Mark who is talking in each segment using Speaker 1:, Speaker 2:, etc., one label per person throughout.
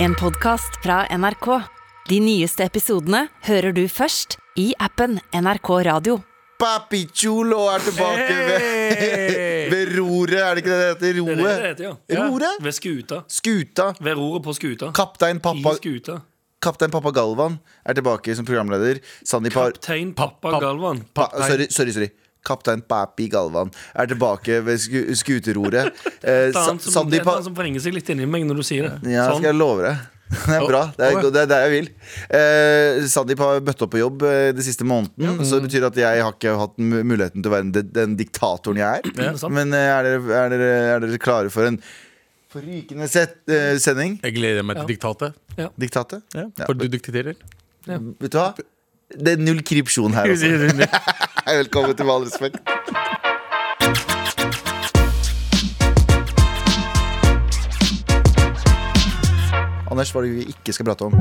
Speaker 1: En podcast fra NRK. De nyeste episodene hører du først i appen NRK Radio.
Speaker 2: Papi Chulo er tilbake ved, ved roret, er det ikke det det heter?
Speaker 3: Det er det det
Speaker 2: Roret?
Speaker 3: heter, ja.
Speaker 2: Roret?
Speaker 3: Ja, ved skuta.
Speaker 2: Skuta.
Speaker 3: Ved roret på skuta.
Speaker 2: Kaptein Pappa,
Speaker 3: I skuta.
Speaker 2: Kaptein Pappa Galvan er tilbake som programleder. Sandeep har
Speaker 3: Kaptein Pappa Galvan.
Speaker 2: pa, Sorry, sorry. sorry. Kaptein Papi Galvan er tilbake ved sku, skuteroret. Eh,
Speaker 3: Det er
Speaker 2: Sa-
Speaker 3: han som, det
Speaker 2: Sandeep
Speaker 3: er han
Speaker 2: har
Speaker 3: som vrenger seg litt inni meg når du sier det. Sånn.
Speaker 2: Ja, skal jeg love deg. Det er bra. Det er, det er der jeg vil. Eh, Sandeep har bøtt opp på jobb eh, de siste måneden. Så det betyr at jeg har ikke hatt mu- muligheten til å være den, den diktatoren jeg
Speaker 3: Ja, det
Speaker 2: er.
Speaker 3: er sant.
Speaker 2: Men eh, er dere, er, dere, er dere klare for en forrykende set, eh, sending?
Speaker 4: Jeg gleder meg til diktatet.
Speaker 2: Diktatet?
Speaker 4: For du dikterer.
Speaker 2: Vet du hva? Det er null krypsjon her altså. også. Velkommen til Med all respekt. Anders, hva er det vi ikke skal prate om?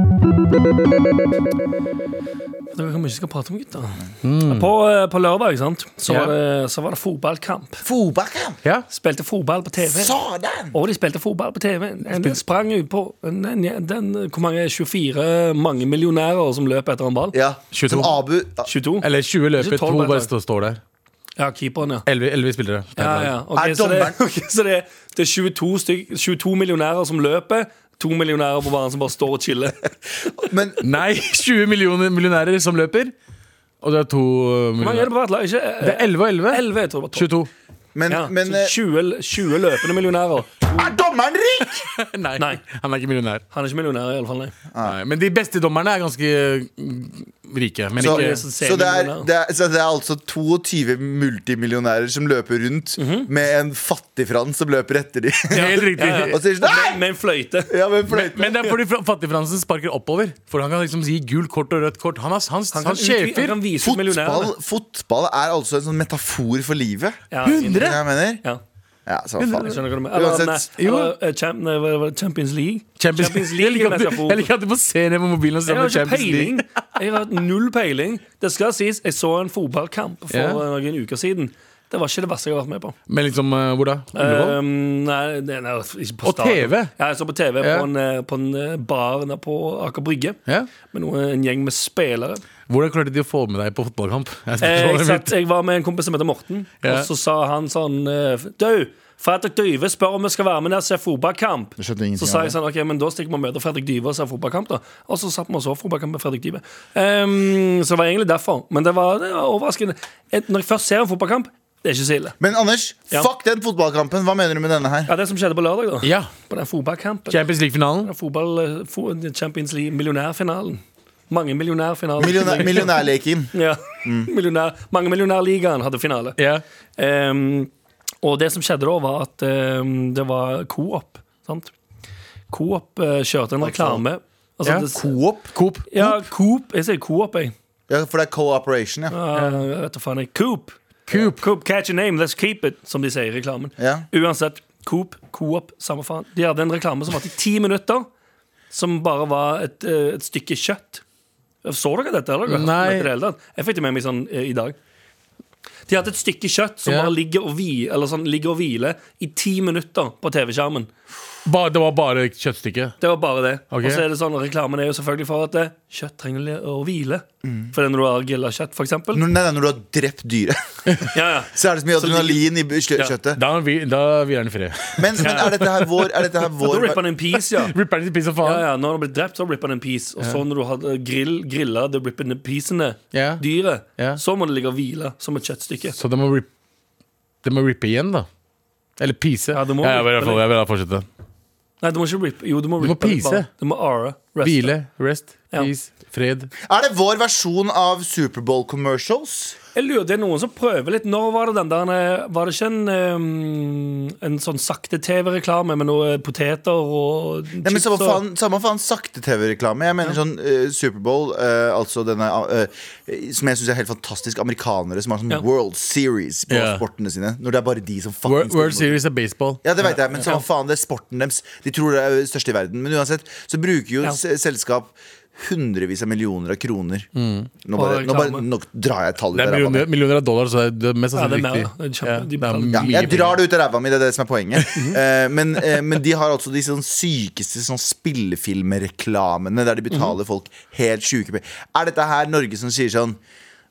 Speaker 3: Det er mye vi skal prate om, gutter. På, eh, på lørdag ikke sant? Så,
Speaker 4: Ja.
Speaker 3: var det, så var det fotballkamp.
Speaker 2: Fotballkamp!
Speaker 4: Ja.
Speaker 3: Spilte fotball på TV.
Speaker 2: Sådan!
Speaker 3: Og de spilte fotball på TV. En sprang ut på en, en, den, Hvor mange 24 mange millionærer som løp etter en ball?
Speaker 2: Ja,
Speaker 4: 22.
Speaker 2: som Abu
Speaker 3: 22?
Speaker 4: Eller 20 løper,
Speaker 3: Ikke tolv,
Speaker 4: to bare
Speaker 3: bare.
Speaker 4: står står der.
Speaker 3: Ja, keeperen, ja.
Speaker 4: 11, 11 spillere.
Speaker 3: ja, ja. Ok,
Speaker 2: Er
Speaker 3: så det,
Speaker 2: dommeren-
Speaker 3: ok, så det, det er 22, stykk- 22 millionærer som løper. To millionærer på banen som bare står og chiller.
Speaker 2: Men
Speaker 4: Nei, 20 millioner millionærer som løper. Og det er to uh,
Speaker 3: Hvor mange er
Speaker 4: millionærer.
Speaker 3: det på hvert lag? Ikke, eh,
Speaker 4: Det er 11 og 11.
Speaker 3: 11, jeg tror det var 12.
Speaker 4: 22.
Speaker 2: Men,
Speaker 3: Ja,
Speaker 2: men
Speaker 3: så 20, 20 løpende millionærer.
Speaker 2: eh, Er dommeren rik?!
Speaker 4: Nei,
Speaker 3: Nei.
Speaker 4: han er ikke millionær.
Speaker 3: Han er ikke millionær, i alle fall, nei.
Speaker 4: Nei. Men de beste dommerne er ganske uh, rike. Men
Speaker 2: Så,
Speaker 4: ikke
Speaker 3: så
Speaker 2: så, det er,
Speaker 3: sånn semimillionær.
Speaker 2: det er, så det er altså 22 multimillionærer som løper rundt med en fattigfrans som løper etter dem.
Speaker 4: Helt riktig.
Speaker 3: Mhm. Ja, ja.
Speaker 2: Og sier sånn
Speaker 3: Med,
Speaker 2: Nei!
Speaker 3: med en fløyte.
Speaker 2: Ja, men fløyte.
Speaker 4: Men det er fordi fra- fattigfransen sparker oppover. For han kan liksom si gult kort og rødt kort. Han har hans,
Speaker 3: Han kan,
Speaker 4: han
Speaker 3: utvi- han
Speaker 4: sjefer.
Speaker 3: kan vise ut millionærene.
Speaker 2: Fotball, fotball er altså en sånn metafor for livet.
Speaker 3: Ja,
Speaker 4: 100?
Speaker 2: Skjønner du hva jeg mener?
Speaker 3: Ja.
Speaker 2: Ja, så faen.
Speaker 3: Jeg skjønner hva du mener. Eller,
Speaker 2: Uansett,
Speaker 3: nei, eller, eh, champ, nei, hva- hva- Champions League.
Speaker 4: Champions,
Speaker 3: Champions
Speaker 4: jeg
Speaker 3: League
Speaker 4: liker at
Speaker 3: er
Speaker 4: du-
Speaker 3: metafor.
Speaker 4: jeg liker at du må se ned på mobilen og se
Speaker 3: Jeg
Speaker 4: om
Speaker 3: har
Speaker 4: det er
Speaker 3: ikke
Speaker 4: Champions League.
Speaker 3: peiling. Jeg har hatt null peiling. Det skal sies, jeg så en fotballkamp for
Speaker 4: Ja.
Speaker 3: eh, noen uker siden. Det var ikke det verste jeg har vært med på.
Speaker 4: Men liksom, eh, hvor da? Ullevål?
Speaker 3: Um, nei, det- nei, ikke på
Speaker 4: Og
Speaker 3: stadion.
Speaker 4: TV.
Speaker 3: Ja, jeg så på TV
Speaker 4: Ja.
Speaker 3: på, en, eh, på en eh, bar der på Aker Brygge.
Speaker 4: ja.
Speaker 3: Med noe, en gjeng med spillere.
Speaker 4: Hvordan klarte de å få med deg på fotballkamp? Jeg
Speaker 3: Eh,
Speaker 4: spurte
Speaker 3: jeg,
Speaker 4: om
Speaker 3: satt,
Speaker 4: det mitt.
Speaker 3: jeg var med en kompis som heter Morten,
Speaker 4: Ja.
Speaker 3: og så sa han sånn eh, Du, Fredrik Dyve spør om vi skal være med ned og se fotballkamp.
Speaker 2: Jeg skjønte ingenting
Speaker 3: Så sa
Speaker 2: av
Speaker 3: jeg
Speaker 2: det.
Speaker 3: sånn, ok, men da stikker vi og møter Fredrik Dyve og ser fotballkamp, da. Og så satt vi og så fotballkamp med Fredrik Dyve. Ehm, så det var egentlig derfor. Men det var, det var overraskende. Et, når jeg først ser en fotballkamp, det er ikke så ille.
Speaker 2: Men Anders,
Speaker 3: Ja.
Speaker 2: fuck den fotballkampen. Hva mener du med denne her?
Speaker 3: Ja, det som skjedde på lørdag, da.
Speaker 4: Ja,
Speaker 3: På den fotballkampen.
Speaker 4: Champions League-finalen.
Speaker 3: Den Fotball, eh, fo Champions League, millionærfinalen. Mange millionærfinaler.
Speaker 2: Millionær, Mm. millionærleken.
Speaker 3: Ja. Millionær, mange millionærligaen hadde finale.
Speaker 4: Ja.
Speaker 3: Ehm, og det som skjedde da, var at ehm, det var Coop. Sant? Coop eh, kjørte en reklame. Altså,
Speaker 4: Ja,
Speaker 3: det-
Speaker 2: Coop?
Speaker 4: Coop.
Speaker 3: ja, Coop. Jeg sier Coop, jeg.
Speaker 2: Ja, for det er cooperation, ja.
Speaker 3: Ja, jeg vet da faen jeg. Coop.
Speaker 4: Coop.
Speaker 3: Coop, catch a name, let's keep it, som de sier i reklamen.
Speaker 2: Ja.
Speaker 3: Uansett, Coop, Coop, samme faen. De hadde en reklame som varte i ti minutter, som bare var et, eh, et stykke kjøtt. Så dere dette? Eller? dere?
Speaker 4: Nei.
Speaker 3: Dette i det hele tatt? Jeg fikk det med meg sånn eh, i dag. De hadde et stykke kjøtt som
Speaker 4: Ja.
Speaker 3: bare ligger og, hvi, eller sånn, ligger og hviler i ti minutter på TV-skjermen.
Speaker 4: Ba, det var bare kjøttstykket.
Speaker 3: Det var bare det.
Speaker 4: Ok.
Speaker 3: Og så er det sånn, reklamen er jo selvfølgelig for at eh, kjøtt trenger le- å hvile. For det er når du har grilla kjøtt, for eksempel.
Speaker 2: Når, nei, nei, når du har drept dyret,
Speaker 3: Ja, ja.
Speaker 2: så er det så mye
Speaker 3: Så ligger-
Speaker 2: adrenalin i b- kjø-
Speaker 3: Ja.
Speaker 2: kjøttet.
Speaker 4: Da er vi- da er vi gjerne fri.
Speaker 2: Men, men er dette her vår, er dette her
Speaker 3: Da
Speaker 2: vår
Speaker 3: ripper han en piece, ja.
Speaker 4: Ripper til piss og
Speaker 3: Ja,
Speaker 4: faen.
Speaker 3: ja, Når han ble drept, så ripper han en piece. Og så når du har eh, grill, grilla the ripping piecene,
Speaker 4: Ja.
Speaker 3: dyret,
Speaker 4: Ja.
Speaker 3: så må det ligge og hvile som et kjøttstykke.
Speaker 4: Så det må, rip, det må rippe igjen, da. Eller pise.
Speaker 3: Ja, det må
Speaker 4: jeg, vil, i hvert
Speaker 3: rippe
Speaker 4: fall- jeg vil da fortsette.
Speaker 3: Nei, du må ikke rippe. Jo, du må
Speaker 4: Du må
Speaker 3: rippe litt
Speaker 4: piece.
Speaker 3: bare. Du må ara. Rest.
Speaker 4: Hvile, rest,
Speaker 3: Ja.
Speaker 4: peace, fred.
Speaker 2: Er det vår versjon av Superbowl commercials?
Speaker 3: Jeg lurer, det er noen som prøver litt. Når var det den der eh, Var det ikke en, eh, en sånn sakte TV-reklame med noe poteter og
Speaker 2: Nei, men
Speaker 3: chips
Speaker 2: samme
Speaker 3: og-
Speaker 2: faen, samme faen sakte-TV-reklame. Jeg mener sånn eh, Superbowl, eh, altså denne eh, som jeg syns er helt fantastisk, amerikanere som har sånn
Speaker 3: Ja.
Speaker 2: World Series på
Speaker 4: Ja.
Speaker 2: sportene sine. Når det er bare de som fucking
Speaker 4: World,
Speaker 2: spiller
Speaker 4: World
Speaker 2: mot-
Speaker 4: Series er baseball.
Speaker 2: Ja, det vet jeg, men samme faen, det er sporten deres. De tror det er størst i verden. Men uansett så bruker jo
Speaker 3: Ja.
Speaker 2: s- selskap hundrevis av millioner av kroner. Nå, bare,
Speaker 3: Og
Speaker 2: nå, bare,
Speaker 3: reklame.
Speaker 2: nå drar jeg et tall ut
Speaker 4: Det
Speaker 2: av
Speaker 4: er
Speaker 2: ræva mi.
Speaker 4: millioner, millioner av dollar, så det er- det er mest
Speaker 3: Ja, det
Speaker 4: sannsynlig
Speaker 3: er mer, da.
Speaker 4: riktig.
Speaker 3: Det er kjempe-
Speaker 4: Ja,
Speaker 3: de
Speaker 4: det
Speaker 3: betaler-
Speaker 4: er
Speaker 2: Ja,
Speaker 4: mye
Speaker 2: jeg drar det ut av ræva mi, det er det som er poenget. Eh, men, eh, men de har altså de sånn sykeste sånn spillefilmreklamene der de betaler folk helt sjuke penger. Er dette her Norge som sier sånn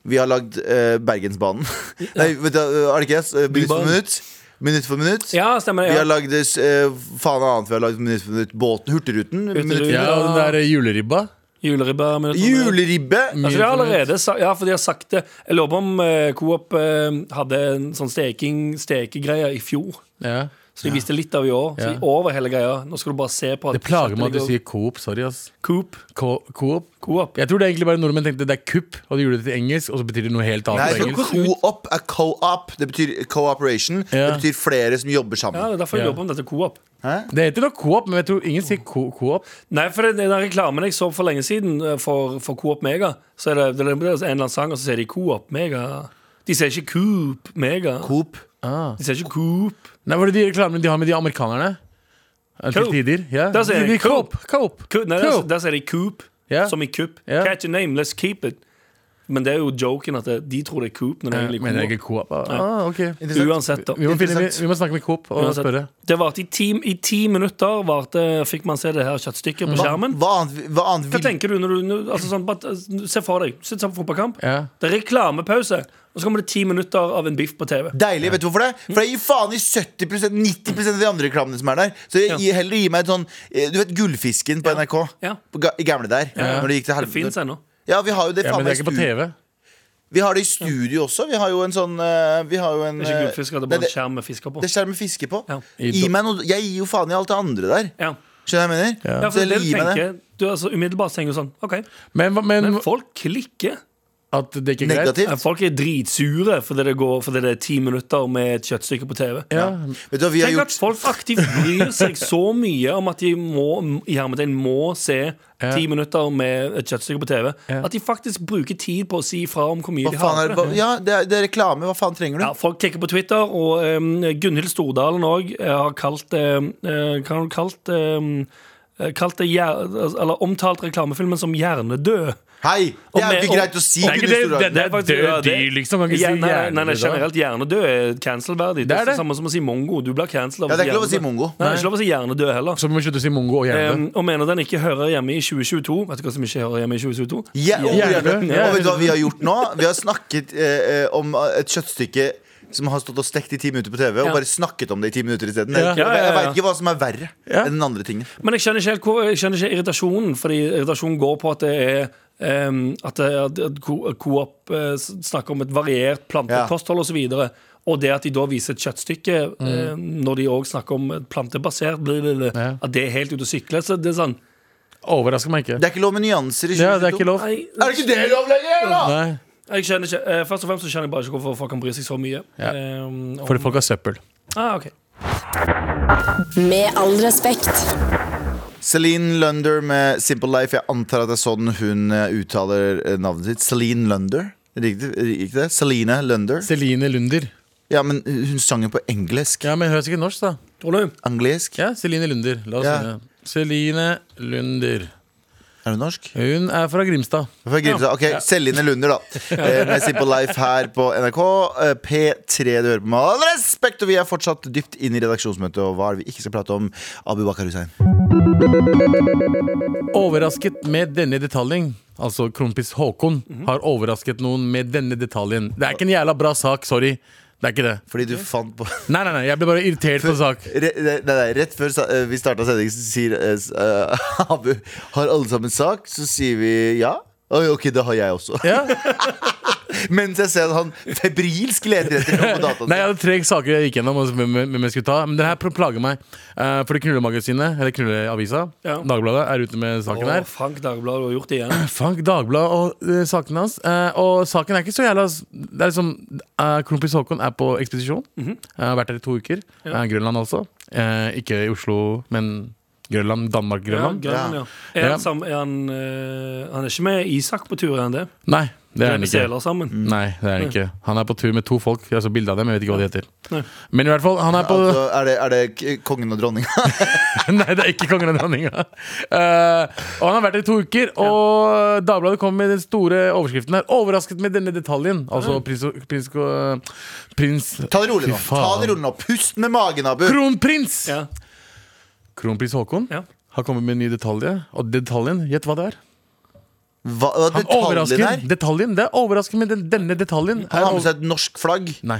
Speaker 2: Vi har lagd eh, Bergensbanen. Nei, vet du, eh, er det ikke det? Minutt for
Speaker 3: Bybanen.
Speaker 2: minutt. Minutt for minutt.
Speaker 3: Ja, stemmer det.
Speaker 2: Vi
Speaker 3: Ja.
Speaker 2: har lagd eh, faen annet vi har lagd minutt for minutt. Båten, Hurtigruten. minutt-
Speaker 3: Hurtigruten.
Speaker 4: Ja, og den der juleribba.
Speaker 3: Juleribbe. men jeg tror-
Speaker 2: Juleribbe!
Speaker 3: Altså, de har allerede sa- ja, for de har sagt det. Jeg lurer på om eh, Coop eh, hadde en sånn steking, stekegreie i fjor.
Speaker 4: Ja.
Speaker 3: Så de viste litt av i år. Så
Speaker 4: Ja.
Speaker 3: i år var hele greia. Nå skal du bare se på at
Speaker 4: Det plager meg at du
Speaker 3: ligger-
Speaker 4: sier Coop. Sorry, ass.
Speaker 3: Coop.
Speaker 4: Co Coop.
Speaker 3: Coop.
Speaker 4: Jeg tror det er egentlig bare nordmenn tenkte det er kupp, og de gjorde det til engelsk, og så betyr det noe helt
Speaker 2: Nei,
Speaker 4: annet på
Speaker 2: for
Speaker 4: engelsk.
Speaker 2: co-op er co-op. Det betyr cooperation.
Speaker 4: Ja.
Speaker 2: Det betyr flere som jobber
Speaker 3: Ja,
Speaker 2: sammen.
Speaker 3: det er derfor jeg
Speaker 4: Ja.
Speaker 3: lurer på om dette er Coop.
Speaker 2: Hæ?
Speaker 4: Det heter nok Coop, men jeg tror ingen sier Co- Coop.
Speaker 3: Nei, for den den reklamen jeg så for lenge siden eh, for, for Coop Mega, så er det, det er en eller annen sang, og så sier de Coop Mega. De sier ikke Coop Mega.
Speaker 2: Coop.
Speaker 3: De sier ikke Coop.
Speaker 4: Nei, var det de reklamene de har med de amerikanerne? Eh, Til
Speaker 3: Coop.
Speaker 4: tider. Ja.
Speaker 3: Da sier
Speaker 4: De- de-
Speaker 3: jeg Coop.
Speaker 4: Coop.
Speaker 3: Co- Nei, der,
Speaker 4: Coop.
Speaker 3: der sier de Coop,
Speaker 4: Ja.
Speaker 3: som i Coop.
Speaker 4: Ja.
Speaker 3: Catch a name, let's keep it. Men det er jo joken at det, de tror det er Coop. Når det
Speaker 4: Ja,
Speaker 3: egentlig
Speaker 4: Mener jeg
Speaker 3: er
Speaker 4: ikke Coop? Ah, ok.
Speaker 3: Coop.
Speaker 2: Interessant.
Speaker 3: Uansett, da.
Speaker 4: Vi må, finne, vi,
Speaker 2: Interessant.
Speaker 4: vi må snakke med Coop og
Speaker 3: Uansett.
Speaker 4: spørre.
Speaker 3: Det varte i ti, i ti minutter varte, fikk eh, man se det her kjøttstykket
Speaker 2: Mm.
Speaker 3: på skjermen.
Speaker 2: Hva annet, hva annet
Speaker 3: Hva
Speaker 2: vil
Speaker 3: tenker du når du når- altså sånn, bare, eh, Se for deg, sitt sammen på fotballkamp.
Speaker 4: Ja.
Speaker 3: Det er reklamepause, og så kommer det ti minutter av en biff på TV.
Speaker 2: Deilig, vet du hvorfor det? For jeg gir faen i 70%, 90% av de andre reklamene som er der Så jeg gir- heller gir meg et sånn eh, Du vet gullfisken på NRK?
Speaker 3: Ja.
Speaker 2: På ga, I gamle der Når det gikk til
Speaker 3: Det fins
Speaker 2: helvete
Speaker 3: ennå.
Speaker 2: Ja, vi har jo det
Speaker 4: Ja,
Speaker 2: faen
Speaker 4: men det
Speaker 2: meg i
Speaker 4: er ikke på
Speaker 2: stu-
Speaker 4: TV.
Speaker 2: Vi har det i studio også Vi har jo en sånn eh, Vi har jo en
Speaker 3: Det er ikke
Speaker 2: eh,
Speaker 3: gullfisker, det er
Speaker 2: nei,
Speaker 3: bare en skjerm med fisker på.
Speaker 2: Det er skjerm med fiske på
Speaker 3: Ja.
Speaker 4: I
Speaker 2: Gi
Speaker 4: do-
Speaker 2: meg noe Jeg gir jo faen i alt det andre der
Speaker 3: Ja.
Speaker 2: Skjønner du hva jeg mener?
Speaker 3: ja, for
Speaker 2: Så
Speaker 3: det er det
Speaker 2: jeg
Speaker 3: du
Speaker 2: gir meg det
Speaker 3: tenker. Du, altså, umiddelbart tenker du sånn OK.
Speaker 4: Men, hva- men
Speaker 3: Men folk klikker.
Speaker 4: at det ikke er greit?
Speaker 2: Negativt
Speaker 3: Ja, Folk er dritsure fordi det, går, fordi det er ti minutter med et kjøttstykke på TV.
Speaker 4: Ja.
Speaker 2: Vet du hva vi har
Speaker 3: Tenk at
Speaker 2: gjort?
Speaker 3: folk aktivt bryr seg så mye om at de må, i hermetegn må se
Speaker 4: Ja.
Speaker 3: ti minutter med et kjøttstykke på TV,
Speaker 4: Ja.
Speaker 3: at de faktisk bruker tid på å si fra om hvor mye
Speaker 2: Hva
Speaker 3: de
Speaker 2: faen
Speaker 3: har.
Speaker 2: er det? Hva- Ja, det er, det er reklame Hva faen trenger du?
Speaker 3: Ja, folk kikker på Twitter, og um, Gunhild Stordalen òg har kalt um, eh, Hva har hun kalt um, eh, Kalt det hjer- altså, Eller omtalt reklamefilmen som hjernedød.
Speaker 2: Hei! Det er
Speaker 3: Og
Speaker 2: jo
Speaker 3: med-
Speaker 2: ikke
Speaker 3: og-
Speaker 2: greit å si
Speaker 4: Nei, ikke
Speaker 2: Gunnar
Speaker 4: det-
Speaker 2: Stordalen.
Speaker 4: det- er
Speaker 3: faktisk-
Speaker 4: død
Speaker 3: ja, det-
Speaker 4: dyr, liksom. Kan ikke si
Speaker 3: Ja, nei, nei, nei,
Speaker 4: hjernedød.
Speaker 3: generelt hjernedød er cancelverdig. Det
Speaker 4: Det
Speaker 3: er det
Speaker 4: er det.
Speaker 3: samme som å si mongo. Du blir cancelled.
Speaker 2: Ja, det er ikke lov å si mongo
Speaker 3: Nei, det er ikke lov å si hjernedød heller.
Speaker 4: Så må vi slutte å si mongo og hjerne.
Speaker 3: Em, og mener den ikke hører hjemme i 2022. Vet du hva som ikke hører hjemme i 2022?
Speaker 2: Ja, og,
Speaker 4: Gjerne.
Speaker 2: og vet du hva vi har gjort nå? Vi har snakket eh, eh, om et kjøttstykke som har stått og stekt i ti minutter på TV, og
Speaker 3: Ja.
Speaker 2: bare snakket om det i ti minutter isteden.
Speaker 4: Ja.
Speaker 2: Jeg,
Speaker 3: Ja, ja,
Speaker 2: jeg
Speaker 3: ja.
Speaker 2: veit ikke hva som er verre
Speaker 4: Ja.
Speaker 2: enn den andre tingen.
Speaker 3: Men jeg skjønner ikke helt hvor, jeg skjønner ikke irritasjonen, fordi irritasjonen går på at det er em, at, det, at, at Ko- Coop eh, s- snakker om et variert
Speaker 2: Ja.
Speaker 3: plantekosthold osv. Og det at de da viser et kjøttstykke
Speaker 4: Mm.
Speaker 3: em, når de òg snakker om et plantebasert, bli, bli, bli,
Speaker 4: Ja.
Speaker 3: at det er helt ute å sykle. Så det er sånn
Speaker 4: Overrasker meg ikke.
Speaker 2: Det er ikke lov med nyanser i 2022.
Speaker 4: Ja, det er ikke lov.
Speaker 3: Nei,
Speaker 2: Er det ikke det lov lenger, da?!
Speaker 4: Nei.
Speaker 3: jeg skjønner ikke. Eh, Først og fremst så skjønner jeg bare ikke hvorfor folk kan bry seg så mye.
Speaker 4: Ja.
Speaker 3: Em, om-
Speaker 4: Fordi folk har søppel.
Speaker 3: ah, ok.
Speaker 1: Med all respekt.
Speaker 2: Celine Lunder med Simple Life. Jeg antar at det er sånn hun eh, uttaler eh, navnet sitt. Celine Lunder. Riktig, riktig det? Celine Lunder.
Speaker 4: Celine Lunder.
Speaker 2: Ja, men hun sang jo på engelsk.
Speaker 4: Ja, men høres ikke norsk, da.
Speaker 3: Tror du?
Speaker 2: Anglisk.
Speaker 4: Ja, Celine Lunder. La oss
Speaker 2: Ja.
Speaker 4: synge. Celine Lunder.
Speaker 2: Er hun norsk?
Speaker 4: Hun er fra Grimstad.
Speaker 2: Fra Grimstad. Ok, Celine Lunder, da. Eh, Med Simple Life her på NRK. eh, P3 du hører på med all respekt, og vi er fortsatt dypt inne i redaksjonsmøtet. Og hva er det vi ikke skal prate om? Abu Bakar Hussein.
Speaker 4: Overrasket med denne detaljen. Altså kronprins Haakon har overrasket noen med denne detaljen. Det er ikke en jævla bra sak, sorry. Det er ikke det.
Speaker 2: Fordi du fant på Re-
Speaker 4: Nei, nei, nei, jeg ble bare irritert på sak.
Speaker 2: Nei, nei, rett før sa- eh, vi starta sendingen, så sier eh, s- eh, Abu Har alle sammen sak? Så sier vi ja. Oi, ok, det har jeg også.
Speaker 4: Ja.
Speaker 2: Mens jeg ser at han febrilsk leter etter noe på dataen.
Speaker 4: Nei, jeg
Speaker 2: sin.
Speaker 4: hadde tre saker jeg gikk gjennom. og hvem- Hvem hvem jeg skulle ta Men det her plager meg. Eh, fordi Knullemagasinet, eller Knulleavisa,
Speaker 3: Ja.
Speaker 4: Dagbladet, er ute med saken her.
Speaker 3: Å, Frank Dagbladet, du har gjort det igjen.
Speaker 4: Frank Dagbladet og eh, sakene hans. Eh, og saken er ikke så jævla Det er liksom eh, Kronprins Haakon er på ekspedisjon. Eh, har vært der i to uker. Eh, Grønland også. Eh, ikke i Oslo, men Grønland, Danmark,
Speaker 3: Ja,
Speaker 4: Grønland.
Speaker 3: Grønland, ja. Er
Speaker 4: Ja.
Speaker 3: han, sam, er han, eh, han er ikke med Isak på tur, er han det?
Speaker 4: Nei, Det er han
Speaker 3: Drevet
Speaker 4: ikke. Mm.
Speaker 3: seler sammen.
Speaker 4: Nei, det er han ikke. Han er på tur med to folk. Jeg så bilde av dem, jeg vet ikke hva de heter.
Speaker 3: Nei.
Speaker 4: Men i hvert fall, han er på
Speaker 2: Altså, er, det, er det k- kongen og dronninga?
Speaker 4: Nei, det er ikke kongen og dronninga. Eh, og han har vært her i to uker, og Dagbladet kom med den store overskriften her. Overrasket med denne detaljen.
Speaker 3: Mm.
Speaker 4: Altså prins, prins, eh, prins
Speaker 2: Ta det rolig
Speaker 4: Fy
Speaker 2: nå. Ta
Speaker 4: faen.
Speaker 2: det rolig nå Pust med magen, Abu.
Speaker 4: Kronprins!
Speaker 3: Ja.
Speaker 4: Kronprins Haakon
Speaker 3: Ja.
Speaker 4: har kommet med en ny detalj. Og detaljen, gjett hva det er?
Speaker 2: Hva, hva
Speaker 4: Han overrasker.
Speaker 2: detaljen her?
Speaker 4: Detaljen, det er overraskende med den, denne detaljen.
Speaker 2: Han
Speaker 4: er
Speaker 2: har med
Speaker 4: over-
Speaker 2: seg et norsk flagg.
Speaker 4: Nei,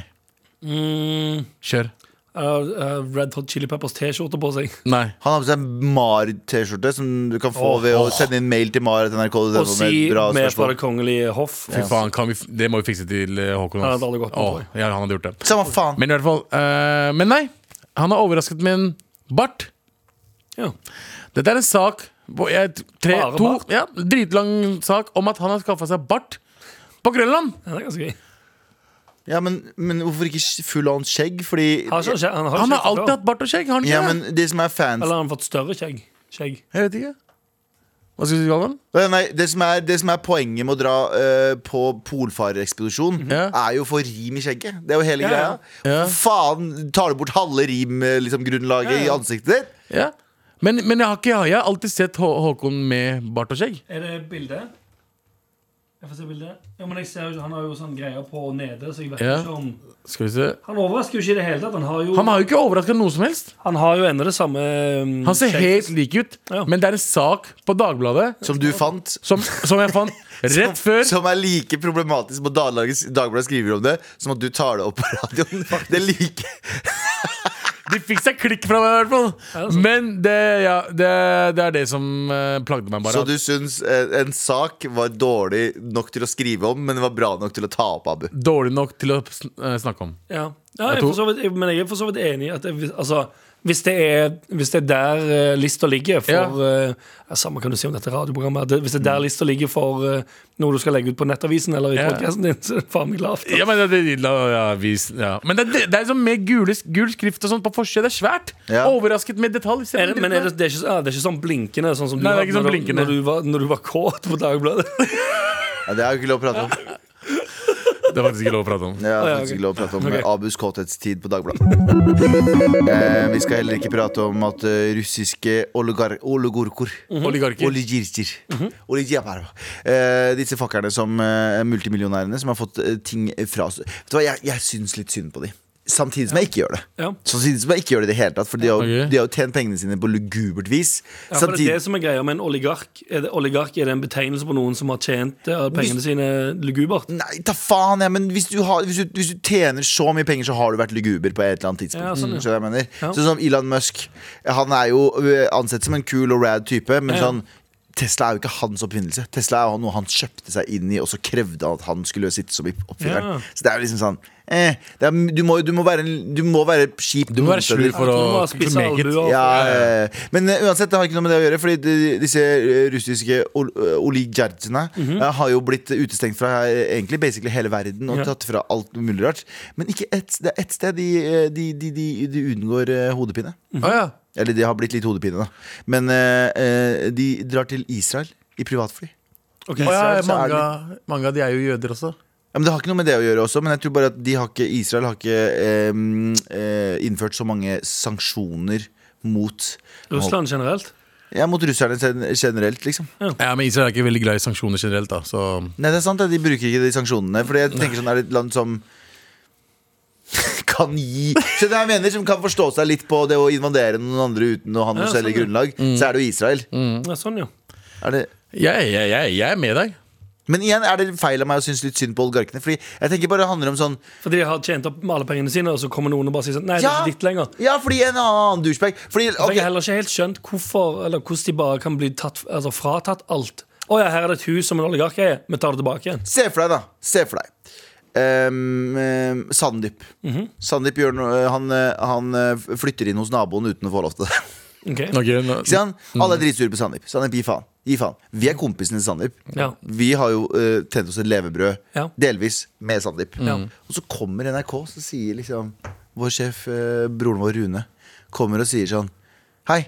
Speaker 3: Mm,
Speaker 4: kjør.
Speaker 3: uh, uh, Red Hot Chili Peppers T-skjorte på seg.
Speaker 4: Nei.
Speaker 2: Han har på seg en MAR-T-skjorte, som du kan få
Speaker 3: Åh.
Speaker 2: ved å sende inn mail til MAR. Til NRK,
Speaker 3: Og si med fra det kongelige hoff.
Speaker 4: Fy faen, kan vi, f- det må vi fikse til eh, Håkon.
Speaker 3: Han
Speaker 4: ass.
Speaker 3: hadde aldri gått med,
Speaker 4: Åh,
Speaker 3: tror jeg.
Speaker 4: ja, han hadde gjort det.
Speaker 2: Samme faen.
Speaker 4: Men i hvert fall eh, Men nei, han har overrasket med en bart.
Speaker 3: Ja.
Speaker 4: Dette er en sak hvor jeg, tre,
Speaker 3: Bare
Speaker 4: to,
Speaker 3: bart?
Speaker 4: ja, Dritlang sak om at han har skaffa seg bart på Grønland.
Speaker 3: Ja, det er ganske gøy.
Speaker 2: Ja, men, men hvorfor ikke full on skjegg? Fordi
Speaker 3: Har sånn ikke han skjegg? Han har,
Speaker 4: Han
Speaker 3: ikke
Speaker 4: har
Speaker 3: skjegg
Speaker 4: alltid
Speaker 3: før.
Speaker 4: hatt bart og skjegg. Har han ikke
Speaker 2: Ja,
Speaker 4: det?
Speaker 2: men de som er fans
Speaker 3: Eller har han fått større skjegg? Skjegg.
Speaker 4: Jeg vet ikke. Hva skal du si, Galvan?
Speaker 2: Nei, Nei, det som, er, det som er poenget med å dra eh, på polfarerekspedisjon,
Speaker 4: Ja.
Speaker 2: er jo å få rim i skjegget. Det er jo hele
Speaker 3: Mhm. Ja, ja.
Speaker 2: greia.
Speaker 4: Ja.
Speaker 2: Faen, tar du bort halve rimgrunnlaget liksom, grunnlaget
Speaker 3: Ja, ja.
Speaker 2: i ansiktet ditt?
Speaker 4: Ja. Men, men jeg, har ikke, jeg har alltid sett Hå Håkon med bart og skjegg.
Speaker 3: Er det bilde? Jeg får se bildet. Ja, men jeg ser jo ikke, Han har jo sånn greier på nede, så jeg vet
Speaker 4: Ja.
Speaker 3: ikke om
Speaker 4: Skal vi se
Speaker 3: Han overrasker jo ikke i det hele tatt. Han har jo,
Speaker 4: Han har jo ikke overraska noe som helst.
Speaker 3: han har jo ennå det samme um,
Speaker 4: Han ser
Speaker 3: skjegg.
Speaker 4: helt lik ut,
Speaker 3: Ja.
Speaker 4: men det er en sak på Dagbladet
Speaker 2: Som du fant.
Speaker 4: som, som jeg fant rett før.
Speaker 2: Som er like problematisk på Dagbladet Dagbladet skriver om det, som at du tar det opp på radioen. Det er like
Speaker 4: De fikk seg klikk fra meg, i hvert fall.
Speaker 3: det sant?
Speaker 4: Men det, ja, det, det er det som eh, plagde meg. bare
Speaker 2: Så du syns eh, en sak var dårlig nok til å skrive om, men den var bra nok til å ta opp, Abu?
Speaker 4: dårlig nok til å sn eh, snakke om.
Speaker 3: Ja, ja
Speaker 4: Jeg
Speaker 3: jeg
Speaker 4: tror-
Speaker 3: for så vidt, jeg- men jeg er for så vidt enig i at det, altså, hvis, det er, hvis det er der eh, lista ligger for
Speaker 4: Ja. Mm.
Speaker 3: eh, ja, Samme kan du si om dette radioprogrammet. at det- Hvis det er der lista ligger for eh, noe du skal legge ut på Nettavisen eller i
Speaker 4: Ja.
Speaker 3: podcasten din, så er det faen meg lavt.
Speaker 4: Ja, Men det, det, la- ja, vi, s- ja. men det, det, det er sånn med gule, s- gul skrift og sånn på forsida. Det er svært!
Speaker 2: Ja.
Speaker 4: Overrasket med detalj. Se på
Speaker 3: Er det, men er det,
Speaker 4: dritten
Speaker 3: det, er ikke, så- ja, det er ikke sånn blinkende, sånn som du
Speaker 4: Nei, det er
Speaker 3: hadde
Speaker 4: ikke sånn
Speaker 3: når, du-
Speaker 4: blinkende.
Speaker 3: når, du var, når du var kåt på Dagbladet.
Speaker 2: Ja, det er jo ikke lov å prate om.
Speaker 4: der. Det er faktisk ikke lov å prate om.
Speaker 2: Det er
Speaker 3: ja,
Speaker 2: faktisk
Speaker 3: ok.
Speaker 2: ikke lov å prate om
Speaker 3: Ok.
Speaker 2: Abus kåthetstid på Dagbladet. Eh, vi skal heller ikke prate om at eh, russiske oligar oligorkor
Speaker 3: Mhm.
Speaker 4: Oligarker.
Speaker 2: Oligirkir. Oligjapar. Eh, disse fuckerne som eh, multimillionærene som har fått eh, ting fra seg. Vet du hva, jeg, jeg syns litt synd på de. Samtidig som jeg ikke gjør det.
Speaker 3: Ja.
Speaker 2: Samtidig som jeg ikke gjør det i det hele tatt For de har,
Speaker 4: Ok.
Speaker 2: de har jo tjent pengene sine på lugubert vis.
Speaker 3: Ja, for det er det som er greia med en oligark. Er det, oligark er det en betegnelse på noen som har tjent eh, pengene sine lugubert?
Speaker 2: Nei, ta faen, ja, men hvis du, har, hvis, du, hvis du tjener så mye penger, så har du vært luguber på et eller annet tidspunkt.
Speaker 3: Ja, sånn, ja.
Speaker 2: Skjønner du hva jeg mener?
Speaker 3: Ja.
Speaker 2: Sånn som Elon Musk. Han er jo ø, ansett som en cool og rad type, men
Speaker 3: Ja.
Speaker 2: sånn Tesla er jo ikke hans oppfinnelse. Tesla er jo noe han kjøpte seg inn i, og så krevde han at han skulle sitte som oppfinneren.
Speaker 3: Ja.
Speaker 2: Så det er jo liksom sånn eh, det er, du, må, du må være en- Du må være kjip.
Speaker 4: Du må være slur for å
Speaker 3: Du må ha spisse
Speaker 4: make it.
Speaker 3: albuer.
Speaker 2: Ja, eh, men eh, uansett, det har ikke noe med det å gjøre. Fordi de, disse eh, russiske ol- eh, oligarkene eh, har jo blitt utestengt fra eh, egentlig basically hele verden og
Speaker 3: Ja.
Speaker 2: tatt fra alt mulig rart. Men ikke ett, det er ett sted de, eh, de, de, de, de unngår eh, hodepine.
Speaker 4: Å, ja.
Speaker 2: Eller de har blitt litt hodepine, da. Men eh, eh, de drar til Israel i privatfly.
Speaker 3: Ok.
Speaker 4: Å, ja,
Speaker 2: Israel, så er det
Speaker 4: mange, mange av de er jo jøder også.
Speaker 2: Ja, men Det har ikke noe med det å gjøre også, men jeg tror bare at de har ikke, Israel har ikke eh, mm, eh, innført så mange sanksjoner mot
Speaker 3: Russland generelt.
Speaker 2: Ja, mot russerne gen- generelt, liksom.
Speaker 4: Ja, Men Israel er ikke veldig glad i sanksjoner generelt. da Så
Speaker 2: Nei, det er sant, det. de bruker ikke de sanksjonene. Fordi jeg tenker sånn, er det et land som kan gi Så det jeg mener Som kan forstå seg litt på det å invadere noen andre uten å ha noe
Speaker 3: Ja,
Speaker 2: særlig
Speaker 3: sånn, ja.
Speaker 2: grunnlag, så er det jo Israel.
Speaker 3: Ja, sånn, ja.
Speaker 2: Er det
Speaker 4: jeg, jeg, jeg, jeg er med deg.
Speaker 2: men igjen er det feil av meg å synes litt synd på oligarkene. Fordi jeg tenker bare det handler om sånn
Speaker 3: Fordi de har tjent opp med alle pengene sine, og så kommer noen og bare sier sånn Nei, det er
Speaker 2: Ja,
Speaker 3: ikke ditt lenger.
Speaker 2: ja fordi en annen douchebag Fordi
Speaker 3: Så Jeg
Speaker 2: ok,
Speaker 3: har heller ikke helt skjønt hvorfor Eller hvordan de bare kan bli tatt, altså fratatt alt. Å ja, her er det et hus som en oligark eier. Vi tar det tilbake igjen.
Speaker 2: Se for deg, da. Se for deg. Ehm, ehm, Sandeep.
Speaker 3: Mhm.
Speaker 2: Sandeep gjør noe han, eh, han eh, flytter inn hos naboen uten å få lov til det.
Speaker 3: Ok.
Speaker 4: Ok, nå-
Speaker 2: Ikke sant?
Speaker 3: Mm.
Speaker 2: Alle er dritsure på Sandeep. Sandeep, gi faen. Gi faen. Vi er kompisene til Sandeep.
Speaker 3: Ja.
Speaker 2: Vi har jo uh, tjent oss et levebrød,
Speaker 3: Ja.
Speaker 2: delvis, med Sandeep.
Speaker 3: Ja.
Speaker 2: Og så kommer NRK, så sier liksom vår sjef, eh, broren vår Rune, kommer og sier sånn Hei,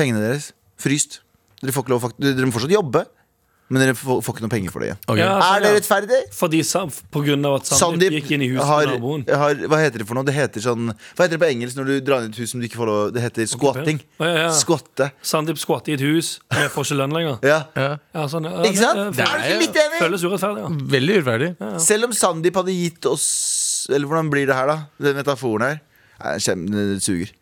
Speaker 2: pengene deres, fryst. Dere får ikke lov å fakt- Dere må fortsatt jobbe. Men dere får, får ikke noe penger for det igjen.
Speaker 4: Ok.
Speaker 3: Ja,
Speaker 2: Er
Speaker 3: sånn,
Speaker 2: det
Speaker 3: ja.
Speaker 2: rettferdig?
Speaker 3: Fordi Sam- på grunn av at Sandeep
Speaker 2: Sandeep
Speaker 3: gikk inn i huset
Speaker 2: har,
Speaker 3: til naboen.
Speaker 2: har Hva heter det for noe? Det heter sånn Hva heter det på engelsk når du drar inn i et hus som du ikke får lov Det heter squatting.
Speaker 3: Å, ja, ja.
Speaker 2: Skvatte.
Speaker 3: Sandeep skvatt i et hus, men får ikke lønn lenger.
Speaker 2: Ja.
Speaker 4: Ja.
Speaker 3: Ja, sånn, ja,
Speaker 2: Ikke sant?
Speaker 3: det-
Speaker 2: Er du ikke litt
Speaker 3: det
Speaker 2: enig?
Speaker 3: Føles urettferdig, ja.
Speaker 4: Veldig urettferdig.
Speaker 2: Selv om Sandeep hadde gitt oss Eller hvordan blir det her, da? Den metaforen her. Nei, kjem, det suger.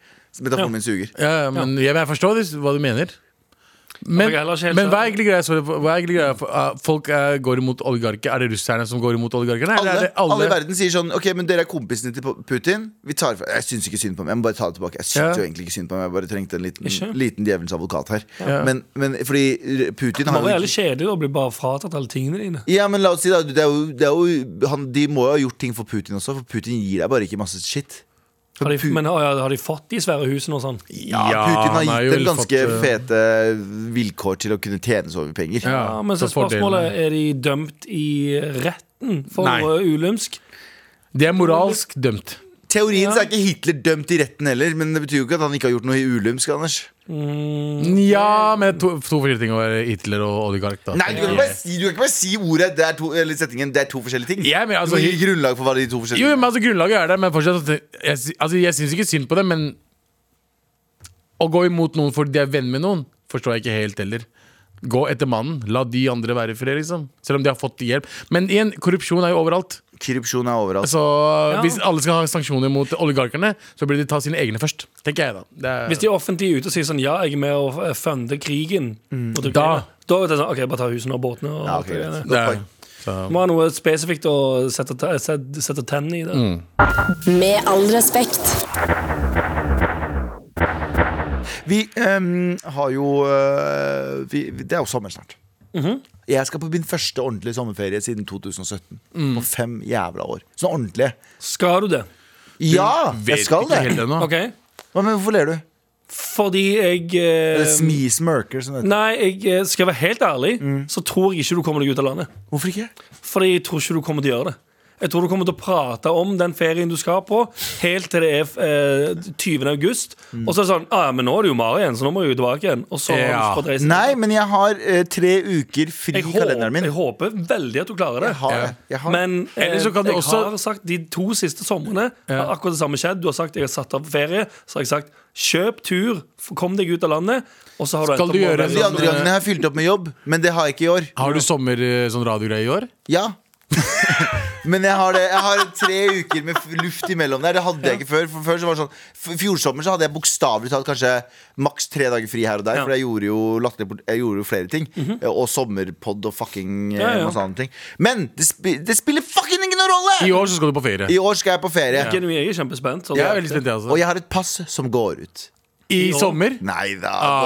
Speaker 2: Metaforen
Speaker 3: Ja.
Speaker 2: min suger.
Speaker 4: Ja, ja, men jeg, jeg forstår det, hva du mener. Men,
Speaker 3: Jeg er heller ikke helt
Speaker 4: men hva er
Speaker 3: enig.
Speaker 4: egentlig greia? Sorry, hva er egentlig greia for, uh, folk uh, går imot oligarker. Er det russerne som går imot oligarkene?
Speaker 2: Alle,
Speaker 4: Eller er det
Speaker 2: alle. i
Speaker 4: alle?
Speaker 2: verden sier sånn Ok, men dere er kompisene til Putin. Vi tar fra Jeg syns ikke synd på ham. Jeg må bare ta det tilbake. Jeg syns
Speaker 4: Ja.
Speaker 2: jo egentlig ikke synd på ham. Jeg bare trengte en liten,
Speaker 3: Ikke?
Speaker 2: liten djevelens advokat her.
Speaker 4: Ja.
Speaker 2: Men, men fordi Putin
Speaker 3: Det
Speaker 2: har
Speaker 3: var
Speaker 2: jo
Speaker 3: jævlig kjedelig å bli bare fratatt alle tingene dine.
Speaker 2: Ja, men la oss si da, det er jo, det er jo han, De må jo ha gjort ting for Putin også, for Putin gir deg bare ikke masse shit. For
Speaker 3: Har de,
Speaker 2: Pu-
Speaker 3: men har, ja, har de fått de svære husene og sånn?
Speaker 2: ja,
Speaker 4: Ja,
Speaker 2: Putin har
Speaker 4: han har
Speaker 2: gitt
Speaker 4: jo
Speaker 2: dem ganske
Speaker 4: fått, uh,
Speaker 2: fete vilkår til å kunne tjene så mye penger.
Speaker 4: Ja,
Speaker 3: Ja, men så
Speaker 4: så
Speaker 3: er
Speaker 4: fordelene.
Speaker 3: spørsmålet er de dømt i retten for
Speaker 4: Nei.
Speaker 3: uh, ulymsk.
Speaker 4: De er moralsk dømt.
Speaker 2: Teorien så
Speaker 3: Ja.
Speaker 2: er ikke Hitler dømt i retten heller, men det betyr jo ikke at han ikke har gjort noe i ulymsk. Anders
Speaker 3: Mm.
Speaker 4: Ja, med to, to forskjellige ting å være Hitler og oligark. Da.
Speaker 2: Nei, du kan ikke bare si, du kan ikke bare si ordet det er to, eller setningen 'det er to forskjellige ting'.
Speaker 4: Ja, men altså-
Speaker 2: du må gi grunnlag for hva de to
Speaker 4: Jo,
Speaker 2: forskjellige
Speaker 4: men altså Grunnlaget er der, men fortsatt Jeg, sy- altså, jeg syns ikke synd på dem, men å gå imot noen fordi de er venn med noen, forstår jeg ikke helt heller. Gå etter mannen. La de andre være i fred, liksom. Selv om de har fått hjelp. Men igjen, korrupsjon er jo overalt.
Speaker 2: Korrupsjon er overalt.
Speaker 4: Så Altså, hvis alle skal ha sanksjoner mot oligarkene, så burde de ta sine egne først. Tenker jeg, da. Det er,
Speaker 3: Hvis de er offentlige ute og sier sånn ja, jeg er med og eh, funder krigen, og du-
Speaker 4: Da-
Speaker 3: da er det sånn OK, bare ta husene og båtene.
Speaker 2: Mm.
Speaker 3: Og
Speaker 2: Ja, ok,
Speaker 3: alt det
Speaker 2: greit.
Speaker 3: der.
Speaker 4: det
Speaker 2: Godt
Speaker 4: er,
Speaker 2: poeng.
Speaker 4: så.
Speaker 3: Må ha noe spesifikt å sette, te- sette, sette tennene i. det
Speaker 1: Med all respekt.
Speaker 2: Vi ehm, har jo eh, vi, vi- Det er jo sommer snart.
Speaker 4: Mhm.
Speaker 2: Jeg skal på min første ordentlige sommerferie siden 2017.
Speaker 4: Mm.
Speaker 2: På fem jævla år. Sånn ordentlig.
Speaker 3: Skal du det?
Speaker 2: Ja, jeg
Speaker 4: Vet
Speaker 2: skal
Speaker 4: ikke helt
Speaker 2: det!
Speaker 4: ennå.
Speaker 3: OK?
Speaker 2: Hva, men hvorfor ler du?
Speaker 3: Fordi jeg eh,
Speaker 2: Eller smismørker, som det heter.
Speaker 3: Nei, jeg eh, skal være helt ærlig,
Speaker 2: Mm.
Speaker 3: så tror jeg ikke du kommer deg ut av landet.
Speaker 2: Hvorfor ikke?
Speaker 3: Fordi jeg tror ikke du kommer til å gjøre det. Jeg tror du kommer til å prate om den ferien du skal på, helt til det er eh, 20. august. Og så er det sånn ah, ja, men nå er det jo mare igjen, så nå må jeg jo tilbake igjen. Og så
Speaker 4: Mm. Ja.
Speaker 3: har du fått reise.
Speaker 2: Nei, men jeg har eh, tre uker fri i
Speaker 3: jeg håper,
Speaker 2: kalenderen min.
Speaker 3: jeg håper veldig at du klarer det.
Speaker 2: Jeg har, det. jeg har. det.
Speaker 3: Men eh,
Speaker 4: Ellers så kan du
Speaker 3: jeg
Speaker 4: også-
Speaker 3: har sagt de to siste somrene har akkurat det samme skjedd. Du har sagt jeg har satt av ferie. Så har jeg sagt kjøp tur, f- kom deg ut av landet. Og så har du
Speaker 4: Skal
Speaker 3: endt
Speaker 4: du
Speaker 3: opp med å være
Speaker 4: gjøre
Speaker 2: de
Speaker 4: sånn-
Speaker 3: sånn-
Speaker 2: andre gangene har jeg fylt opp med jobb, men det har jeg ikke i år.
Speaker 4: Har du sommer eh, sånn radiogreie i år?
Speaker 2: Ja Men jeg har, det. jeg har tre uker med f- luft imellom der. Det hadde jeg ikke før. For før så var det sånn f- Fjor sommer så hadde jeg bokstavelig talt kanskje maks tre dager fri her og der.
Speaker 3: Ja. Mhm.
Speaker 2: For jeg gjorde jo latterlig bort- Jeg gjorde jo flere ting. Eh, Og sommerpod og fucking eh,
Speaker 3: Ja, ja.
Speaker 2: masse andre ting. Men det, spi det spiller fucking ingen rolle!
Speaker 4: I år så skal du på ferie.
Speaker 2: I år skal jeg på ferie.
Speaker 3: Genuin, Jeg er kjempespent. så
Speaker 4: sånn- Jeg er
Speaker 3: det-
Speaker 4: veldig spent, jeg
Speaker 2: Og
Speaker 4: også.
Speaker 2: jeg har et pass som går ut.
Speaker 4: I
Speaker 3: år?
Speaker 4: sommer?
Speaker 2: Nei da,
Speaker 4: Ah,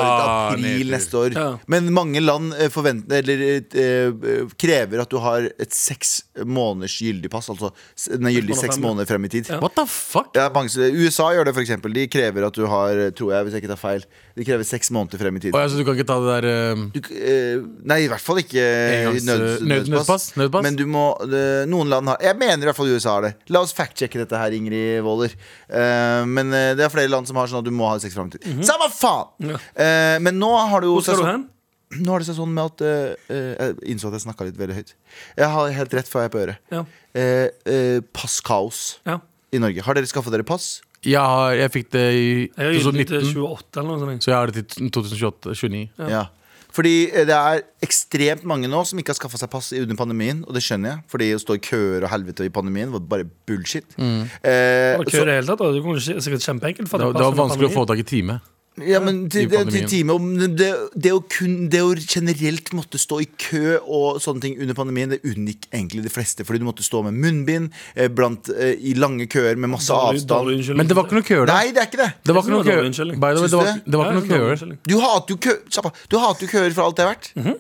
Speaker 2: bare til april
Speaker 4: nedtur.
Speaker 2: neste år.
Speaker 3: Ja.
Speaker 2: Men mange land eh, forventer Eller eh, eh, krever at du har et seks måneders gyldig pass. Altså s- den er gyldig
Speaker 3: måneder
Speaker 2: seks
Speaker 3: frem, ja.
Speaker 2: måneder frem i tid.
Speaker 4: What the fuck?
Speaker 2: Ja, mange, s- USA gjør det, for eksempel. De krever at du har, eh, tror jeg, hvis jeg ikke tar feil, De krever seks måneder frem i tid.
Speaker 4: Å, ja, så du kan ikke ta det der eh,
Speaker 2: Du, k- eh, nei, i hvert fall ikke eh,
Speaker 4: Engangs-
Speaker 2: nød,
Speaker 4: nød- nødpass, nødpass.
Speaker 2: Men du må eh, Noen land har Jeg mener i hvert fall USA har det. La oss fact-sjekke dette her, Ingrid Waaler. Eh, men eh, det er flere land som har sånn at du må ha seks fram til. Samme faen! Eh, men nå har du jo
Speaker 3: Mhm. Hvor skal du
Speaker 2: sesong-
Speaker 3: hen?
Speaker 2: Nå har det seg sånn med at eh, eh, Jeg innså at jeg snakka litt veldig høyt. Jeg har helt rett før jeg er på øret.
Speaker 3: Ja.
Speaker 2: Eh, eh, passkaos
Speaker 3: Ja.
Speaker 2: i Norge. Har dere skaffa dere pass?
Speaker 4: Jeg, har, jeg fikk det i
Speaker 3: Jeg er ute til
Speaker 4: 2019,
Speaker 3: 28 eller noe sånt.
Speaker 4: så jeg har det til 2028-2029.
Speaker 2: eh, Ja. Fordi eh, det er ekstremt mange nå som ikke har skaffa seg pass under pandemien. Og det skjønner jeg, fordi å stå i køer og helvete i pandemien var bare bullshit.
Speaker 4: Mm.
Speaker 2: Eh,
Speaker 3: Var det kø i
Speaker 2: så,
Speaker 3: det hele tatt? da? Det kunne skje- sikkert kjempeenkelt. for
Speaker 4: Det,
Speaker 3: deg.
Speaker 4: var- det var vanskelig å få tak i time.
Speaker 2: ja, men til,
Speaker 4: I
Speaker 2: det, til
Speaker 4: pandemien.
Speaker 2: time om det, det, å kun, det å generelt måtte stå i kø og sånne ting under pandemien, det unngikk egentlig de fleste. Fordi du måtte stå med munnbind eh, blant, eh, i lange køer med masse
Speaker 3: Dårlig-
Speaker 2: avstand.
Speaker 3: dårlig unnskyldning.
Speaker 4: Men det var ikke noe køer der.
Speaker 2: Nei, det er ikke det.
Speaker 4: Det var ikke
Speaker 3: Jeg synes det var
Speaker 4: noe køer.
Speaker 3: dårlig unnskyldning.
Speaker 4: By the way, det var,
Speaker 2: Syns du?
Speaker 4: det var
Speaker 3: Ja,
Speaker 4: ikke
Speaker 3: jeg
Speaker 4: noe
Speaker 3: synes det var
Speaker 4: køer.
Speaker 3: unnskyldning.
Speaker 2: Du hater jo kø Slapp av. Du hater jo køer for alt det er verdt.
Speaker 4: Mhm.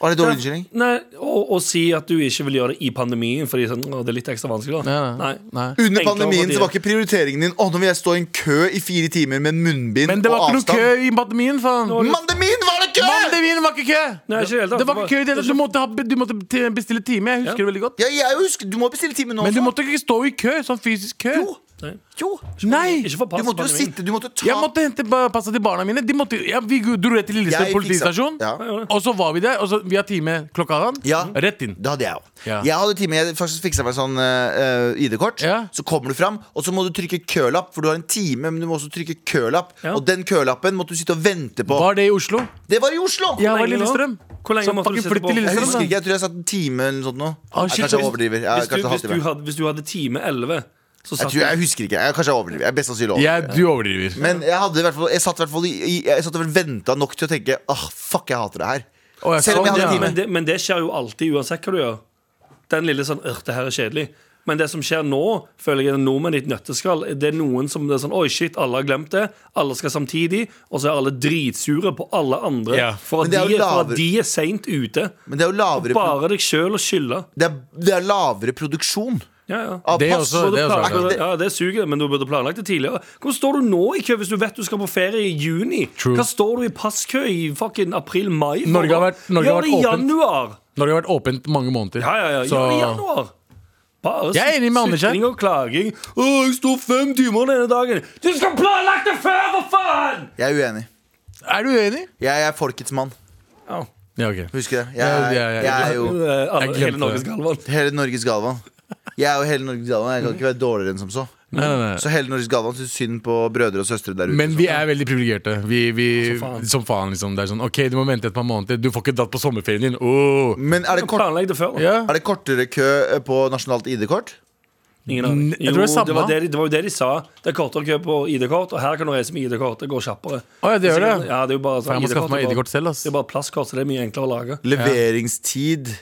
Speaker 2: Var det dårlig unnskyldning?
Speaker 3: Nei, og, og si at du ikke vil gjøre det i pandemien fordi sånn, å, det er litt ekstra vanskelig. da
Speaker 4: Nei, nei, nei.
Speaker 2: Under
Speaker 3: Enklere
Speaker 2: pandemien
Speaker 3: fordi-
Speaker 2: så var ikke prioriteringen din Å, nå vil jeg stå i en kø i fire timer med en munnbind
Speaker 4: Men det var
Speaker 2: og
Speaker 4: ikke noe
Speaker 2: avstand.
Speaker 4: kø i pandemien, faen.
Speaker 2: Mandemin var det kø!
Speaker 4: Pandemien var ikke kø!
Speaker 3: Nei, ikke i det hele tatt.
Speaker 4: Det var ikke kø i det hele tatt. Du måtte, ha, du måtte te- bestille time. Jeg
Speaker 3: Ja.
Speaker 4: husker det veldig godt.
Speaker 2: Ja, jeg husker, Du må bestille time nå
Speaker 4: Men du
Speaker 2: også.
Speaker 4: måtte ikke stå i kø. Sånn fysisk kø.
Speaker 2: Jo.
Speaker 3: Nei.
Speaker 2: Jo!
Speaker 4: Nei!
Speaker 3: Ikke for
Speaker 2: Du
Speaker 3: pass,
Speaker 2: måtte jo
Speaker 3: pannen min.
Speaker 2: sitte, du måtte ta
Speaker 4: Jeg måtte hente ba- passa til barna mine. De måtte, ja, vi dro rett til
Speaker 2: Jeg
Speaker 4: Lillestrøm
Speaker 2: fiksa-
Speaker 4: politistasjon.
Speaker 2: Ja.
Speaker 4: Og så var vi der. Og så vi har time klokka halv.
Speaker 2: Ja.
Speaker 4: Rett inn.
Speaker 2: Det hadde jeg òg.
Speaker 4: Ja.
Speaker 2: Jeg hadde time, jeg faktisk fiksa meg sånn eh, eh, ID-kort.
Speaker 4: Ja.
Speaker 2: Så kommer du fram, og så må du trykke kølapp, for du har en time. Men du må også trykke kølapp
Speaker 3: Ja.
Speaker 2: Og den kølappen måtte du sitte og vente på.
Speaker 4: Var det i Oslo?
Speaker 2: Det var i Oslo!
Speaker 4: Jeg var i
Speaker 3: lenge nå?
Speaker 4: Lillestrøm.
Speaker 3: Hvor lenge
Speaker 4: Så
Speaker 3: måtte du
Speaker 4: fucking
Speaker 3: sitte
Speaker 4: flytt
Speaker 3: på?
Speaker 4: til
Speaker 3: Jeg
Speaker 2: Jeg
Speaker 4: Lillestrøm.
Speaker 2: husker
Speaker 4: da.
Speaker 2: ikke, jeg tror jeg satt en time eller noe sånt nå.
Speaker 4: Ah,
Speaker 2: Jeg
Speaker 4: shit,
Speaker 2: kanskje jeg
Speaker 4: hvis-
Speaker 2: overdriver. Jeg,
Speaker 3: Hvis du,
Speaker 2: kanskje en
Speaker 3: hvis, du
Speaker 2: halvtime.
Speaker 3: hadde, hvis du hadde time 11, så
Speaker 2: Jeg,
Speaker 3: satt
Speaker 2: tror, jeg husker ikke. Jeg, kanskje jeg overdriver. Jeg er best sannsynlig overdriver.
Speaker 4: Ja, du overdriver.
Speaker 2: Men jeg, hadde i hvert fall, jeg satt i hvert fall i, i, Jeg satt og venta nok til å tenke Åh, fuck, jeg hater det her.
Speaker 4: Å, jeg
Speaker 2: Selv om jeg
Speaker 4: sånn,
Speaker 2: hadde
Speaker 4: ja.
Speaker 2: time.
Speaker 3: men, det, men det skjer jo alltid, uansett hva du gjør. Den lille sånn «Øh, det her er kjedelig. Men det som skjer nå, føler jeg er nordmenn i et nøtteskall. Det er noen som det er sånn Oi, shit, alle har glemt det. Alle skal samtidig. Og så er alle dritsure på alle andre
Speaker 4: Ja.
Speaker 3: for,
Speaker 2: Men det
Speaker 3: at de,
Speaker 2: er jo
Speaker 3: er- for
Speaker 2: lavere-
Speaker 3: at de er seint ute.
Speaker 2: Men det er jo lavere, pro-
Speaker 3: Bare deg sjøl å skylde.
Speaker 2: det er, det er lavere produksjon
Speaker 3: Ja, ja.
Speaker 2: av
Speaker 4: Det er
Speaker 2: pass.
Speaker 4: også-
Speaker 3: Burde
Speaker 4: det er sånn.
Speaker 3: planlagt-
Speaker 2: sant.
Speaker 3: ja, det suger, men du burde planlagt det tidligere. Hvor står du nå i kø hvis du vet du skal på ferie i juni?
Speaker 4: True.
Speaker 3: Hva står du i passkø i fucking april-mai? for?
Speaker 4: Norge har vært- Norge
Speaker 3: Gjør
Speaker 4: har
Speaker 3: det i
Speaker 4: vært åpent.
Speaker 3: januar!
Speaker 4: Når det har vært åpent mange måneder.
Speaker 3: Ja, ja, ja.
Speaker 4: Så
Speaker 3: Gjør det i januar. Bare
Speaker 4: Jeg er enig med Anders her.
Speaker 3: sutring og klaging. Å, jeg står fem timer denne dagen. Du skal planlagt det før, for faen!
Speaker 2: Jeg er uenig.
Speaker 4: er du uenig?
Speaker 2: Jeg er folkets mann.
Speaker 3: Ja.
Speaker 4: Ja, ok.
Speaker 2: Husker det.
Speaker 4: Ja,
Speaker 2: Jeg,
Speaker 4: ja, ja.
Speaker 2: jeg er jo
Speaker 3: Eh, alle-
Speaker 4: Jeg glemte
Speaker 3: Hele Norges
Speaker 4: det.
Speaker 3: Galvan.
Speaker 2: hele Norges Galvan. Jeg er jo hele Norges Galvan. Jeg kan ikke være dårligere enn som så.
Speaker 4: Nei, nei, nei.
Speaker 2: Så hele Norges Galvan syns synd på brødre og søstre der ute.
Speaker 3: Liksom.
Speaker 4: Men vi er veldig privilegerte. Vi, vi,
Speaker 3: faen.
Speaker 4: som faen, liksom. Det er sånn, OK, du må vente et par måneder. Du får ikke dratt på sommerferien din. Oh. Åh.
Speaker 2: Men er det, kort,
Speaker 3: Planlegg det før. da.
Speaker 4: Ja.
Speaker 2: er det kortere kø på nasjonalt ID-kort?
Speaker 3: Ingen aning.
Speaker 4: Jeg tror det er
Speaker 3: Jo, det,
Speaker 4: samme.
Speaker 3: var det, de- det var jo det de sa. Det er kortere kø på ID-kort, og her kan du reise med ID-kort. Det går kjappere.
Speaker 4: Å, ja, det gjør
Speaker 3: sikkert-
Speaker 4: det.
Speaker 3: Ja, det er jo bare
Speaker 4: For jeg må skaffe meg
Speaker 3: er bare-
Speaker 4: ID-kort selv, ass.
Speaker 3: Det er bare plastkort, så det er mye enklere å lage.
Speaker 2: Leveringstid.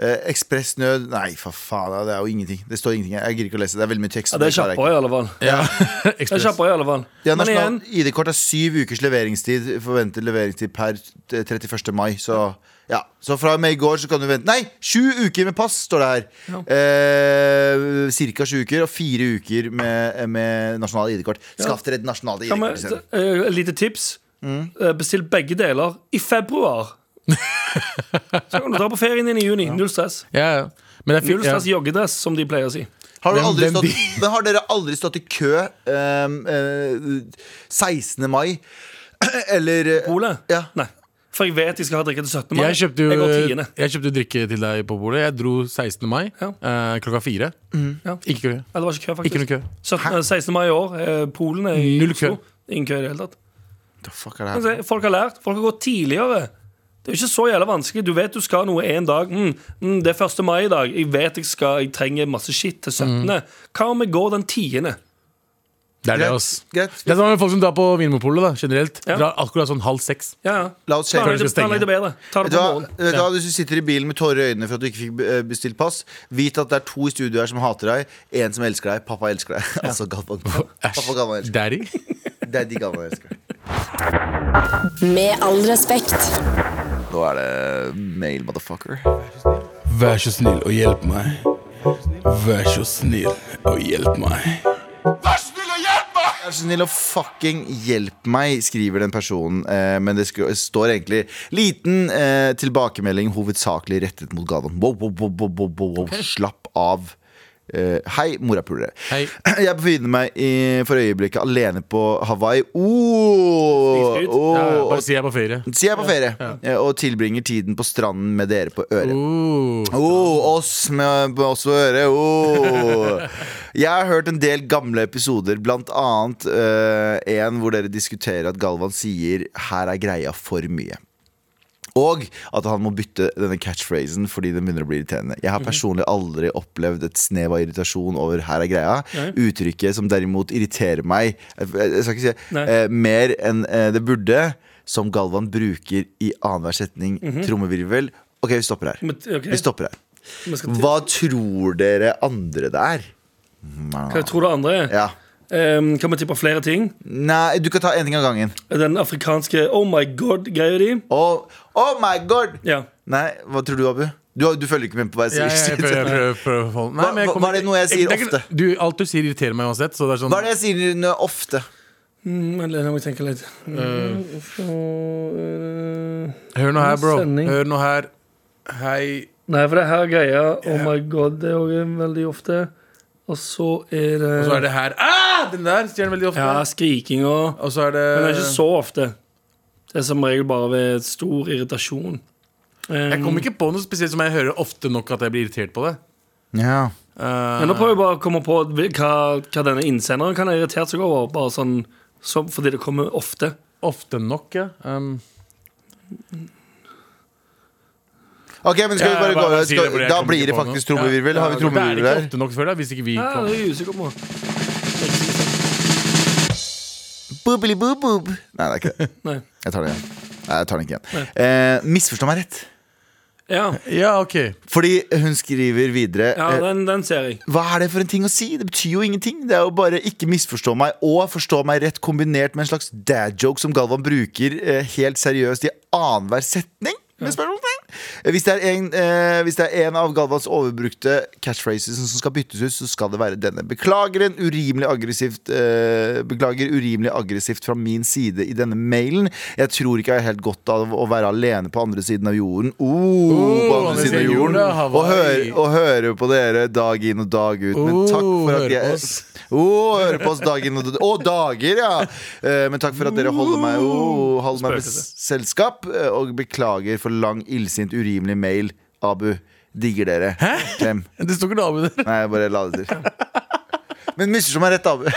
Speaker 2: Eh, Ekspressnød Nei, for faen, det er jo ingenting. Det står ingenting her. Jeg gidder ikke å lese det. Det er veldig mye tekst.
Speaker 3: Ja, det er
Speaker 2: så klarer jeg ikke.
Speaker 3: kjappere, i alle fall.
Speaker 4: Ja.
Speaker 3: Det er kjappere, i alle fall.
Speaker 2: Ja,
Speaker 3: Men igjen,
Speaker 2: nasjonalt ID-kort er syv ukers leveringstid. Forventet leveringstid per t- 31. mai. Så, ja. så fra og med i går så kan du vente Nei, sju uker med pass, står det her. Eh, cirka sju uker, og fire uker med, med nasjonalt ID-kort. Skaff dere et nasjonalt
Speaker 3: kan vi-
Speaker 2: ID-kort. isteden.
Speaker 3: eh, et lite tips.
Speaker 4: Mm.
Speaker 3: Eh, Bestill begge deler i februar. Så kan du dra på ferien din i juni. Null stress.
Speaker 4: Ja, ja. Men det er
Speaker 3: Null
Speaker 4: fint.
Speaker 3: stress
Speaker 4: Ja.
Speaker 3: joggedress, som de pleier å si.
Speaker 2: Har, du
Speaker 4: Hvem-
Speaker 2: aldri
Speaker 4: hvem
Speaker 2: stått,
Speaker 4: de-
Speaker 2: men har dere aldri stått i kø ehm, eh, 16. mai? Eller eh,
Speaker 3: Ole?
Speaker 2: Ja.
Speaker 3: Nei. For jeg vet jeg skal ha drikke til 17. mai.
Speaker 4: Jeg kjøpte, jo, eh,
Speaker 3: jeg går tiende.
Speaker 4: jeg kjøpte jo drikke til deg på bordet. Jeg dro 16. mai
Speaker 3: Ja. Mhm.
Speaker 4: eh, klokka fire.
Speaker 3: Ja.
Speaker 4: Ikke kø.
Speaker 3: Nei, det var ikke kø, faktisk.
Speaker 4: Ikke noe kø.
Speaker 3: 17, eh, 16. mai i år. eh, Polen er i
Speaker 4: Null kø.
Speaker 3: Oslo. Ingen kø i det hele tatt.
Speaker 2: The fuck er det
Speaker 3: Men
Speaker 2: her?
Speaker 3: se, Folk har lært. Folk har gått tidligere. Det er jo ikke så jævla vanskelig. Du vet du skal noe en dag. Mm, mm, det er 1. mai i dag. Jeg vet jeg skal Jeg trenger masse shit til 17.
Speaker 4: Mm.
Speaker 3: Hva om jeg går den 10.?
Speaker 4: Det er det, ass.
Speaker 2: Greit. greit.
Speaker 4: Det er sånn med folk som drar på Vinmonopolet, da, generelt.
Speaker 3: Ja.
Speaker 4: Drar akkurat sånn halv seks.
Speaker 3: Ja, ja.
Speaker 2: La oss se.
Speaker 3: Planlegg det-
Speaker 4: Før du skal
Speaker 3: planlegg det bedre. Ta
Speaker 2: Vet
Speaker 3: det
Speaker 2: du
Speaker 3: på
Speaker 2: hva, Eh,
Speaker 3: morgenen.
Speaker 2: vet du hva, hvis du sitter i bilen med tårer i øynene for at du ikke fikk eh, bestilt pass, vit at det er to i studio her som hater deg. En som elsker deg. Pappa elsker deg. altså Galvan. Pappa Galvan elsker
Speaker 4: Daddy.
Speaker 2: deg. Daddy Galvan elsker deg.
Speaker 5: Med all respekt.
Speaker 2: Nå er det mail, motherfucker.
Speaker 6: Vær så snill og hjelp meg. Vær så snill og hjelp meg.
Speaker 2: Vær så snill og fucking hjelp meg, skriver den personen. Eh, men det sk- står egentlig liten eh, tilbakemelding hovedsakelig rettet mot Galvan. Wow, wow, wow, wow, wow, wow, wow. Slapp av. Eh, hei, morapulere.
Speaker 4: Hei.
Speaker 2: Jeg befinner meg i, for øyeblikket alene på Hawaii. Oh,
Speaker 3: Snikskryt.
Speaker 2: oh,
Speaker 4: Ja, ja,
Speaker 2: og-
Speaker 4: bare si jeg er på ferie.
Speaker 2: så jeg er på ferie eh, og tilbringer tiden på stranden med dere på øret.
Speaker 4: Uh,
Speaker 2: Oh, oss med med oss på øret. Oh. Jeg har hørt en del gamle episoder, blant annet eh, en hvor dere diskuterer at Galvan sier 'her er greia for mye'. Og at han må bytte denne catchphrasen fordi den begynner å bli irriterende. Jeg har personlig aldri opplevd et snev av irritasjon over 'her er greia'. Uttrykket som derimot irriterer meg, eh, jeg skal ikke si
Speaker 3: Nei.
Speaker 2: eh, mer enn eh, det burde, som Galvan bruker i annenhver setning,
Speaker 4: Mhm.
Speaker 2: trommevirvel. Ok, vi stopper her.
Speaker 3: Men, ok.
Speaker 2: Vi stopper her.
Speaker 3: Vi skal til-
Speaker 2: Hva tror dere andre det er?
Speaker 3: Hva jeg tror det andre er?
Speaker 2: Ja.
Speaker 3: Ehm, kan vi tippe flere ting?
Speaker 2: Nei, du kan ta en ting av gangen.
Speaker 3: Den afrikanske oh my god-greia di.
Speaker 2: Oh, oh my god!
Speaker 3: Ja.
Speaker 2: Nei, hva tror du, Abu? Du, har- du følger ikke med på hva
Speaker 4: jeg,
Speaker 2: jeg
Speaker 4: jeg,
Speaker 2: sier.
Speaker 4: prøver- jeg prøver- prøver å holde- Nei,
Speaker 2: Hva-
Speaker 4: men jeg
Speaker 2: hva-
Speaker 4: kommer-
Speaker 2: hva er det noe jeg sier
Speaker 4: er ikke-
Speaker 2: ofte?
Speaker 4: Du, alt du sier, irriterer meg uansett. Så det er sånn
Speaker 2: Hva er det jeg sier nå ofte?
Speaker 3: Mm, vent litt, La meg tenke litt.
Speaker 4: Eh.
Speaker 3: Eh, Mm,
Speaker 4: Hør nå her, bro.
Speaker 3: Sending.
Speaker 4: Hør nå her. Hei.
Speaker 3: Nei, for det her greia Oh my god, det er jo veldig ofte Og så er det,
Speaker 4: Og så er det her ah, Den der stjeler veldig ofte.
Speaker 3: Ja, skriking og
Speaker 4: Og så er det
Speaker 3: Men det er ikke så ofte. Det er som regel bare ved stor irritasjon.
Speaker 4: Jeg kommer ikke på noe spesielt som jeg hører ofte nok at jeg blir irritert på det.
Speaker 2: Ja.
Speaker 4: Eh,
Speaker 3: Men nå prøver jeg bare å komme på hva, hva denne innsenderen kan ha irritert seg over. Bare sånn, som, fordi det kommer ofte.
Speaker 4: ofte nok, ja. Um,
Speaker 2: Ok, men skal vi
Speaker 4: Ja,
Speaker 2: bare
Speaker 4: bare
Speaker 2: gå
Speaker 4: si det
Speaker 2: skal,
Speaker 4: fordi jeg
Speaker 2: Da
Speaker 4: kommer
Speaker 2: blir
Speaker 4: ikke
Speaker 2: det
Speaker 4: på
Speaker 2: faktisk
Speaker 4: noe. altså,
Speaker 2: trommevirvel. Har vi
Speaker 4: det er
Speaker 2: trommevirvel
Speaker 4: ikke
Speaker 2: der?
Speaker 4: ofte nok, føler jeg. Hvis ikke vi
Speaker 3: Ja,
Speaker 4: kom.
Speaker 3: det er jeg usikker på.
Speaker 2: Boobily boob boob. Nei, det er ikke det.
Speaker 3: Nei.
Speaker 2: Jeg tar den igjen. Nei, jeg tar den ikke igjen. Eh, misforstå meg rett.
Speaker 3: Ja,
Speaker 4: Ja, ok.
Speaker 2: Fordi hun skriver videre
Speaker 3: ja
Speaker 2: eh,
Speaker 3: den, den ser jeg.
Speaker 2: Hva er det for en ting å si? Det betyr jo ingenting. Det er jo bare ikke misforstå meg og forstå meg rett, kombinert med en slags dad-joke som Galvan bruker eh, helt seriøst i annenhver setning. Med spørsmålstegn. Eh, hvis, det er en, eh, hvis det er en av Galvans overbrukte catchphrases som skal byttes ut, så skal det være denne. Beklager en urimelig aggressivt eh, Beklager urimelig aggressivt fra min side i denne mailen. Jeg tror ikke jeg har helt godt av å være alene på andre siden av jorden. Oh, på andre siden av jorden. Og høre, og høre på dere dag inn og dag ut. Men takk for at
Speaker 4: Oh, høre på
Speaker 2: jeg
Speaker 4: oss.
Speaker 2: Oh, høre på oss dag inn og Å, dager, ja! Eh, Men takk for at dere holder meg, oh, holder meg med
Speaker 3: Spøkelse.
Speaker 2: selskap. eh, Og beklager for lang, illsint, urimelig mail. Abu, digger dere. Klem.
Speaker 4: Det sto ikke dame der.
Speaker 2: Nei, jeg bare la det til. Men misforstå meg rett, Abu.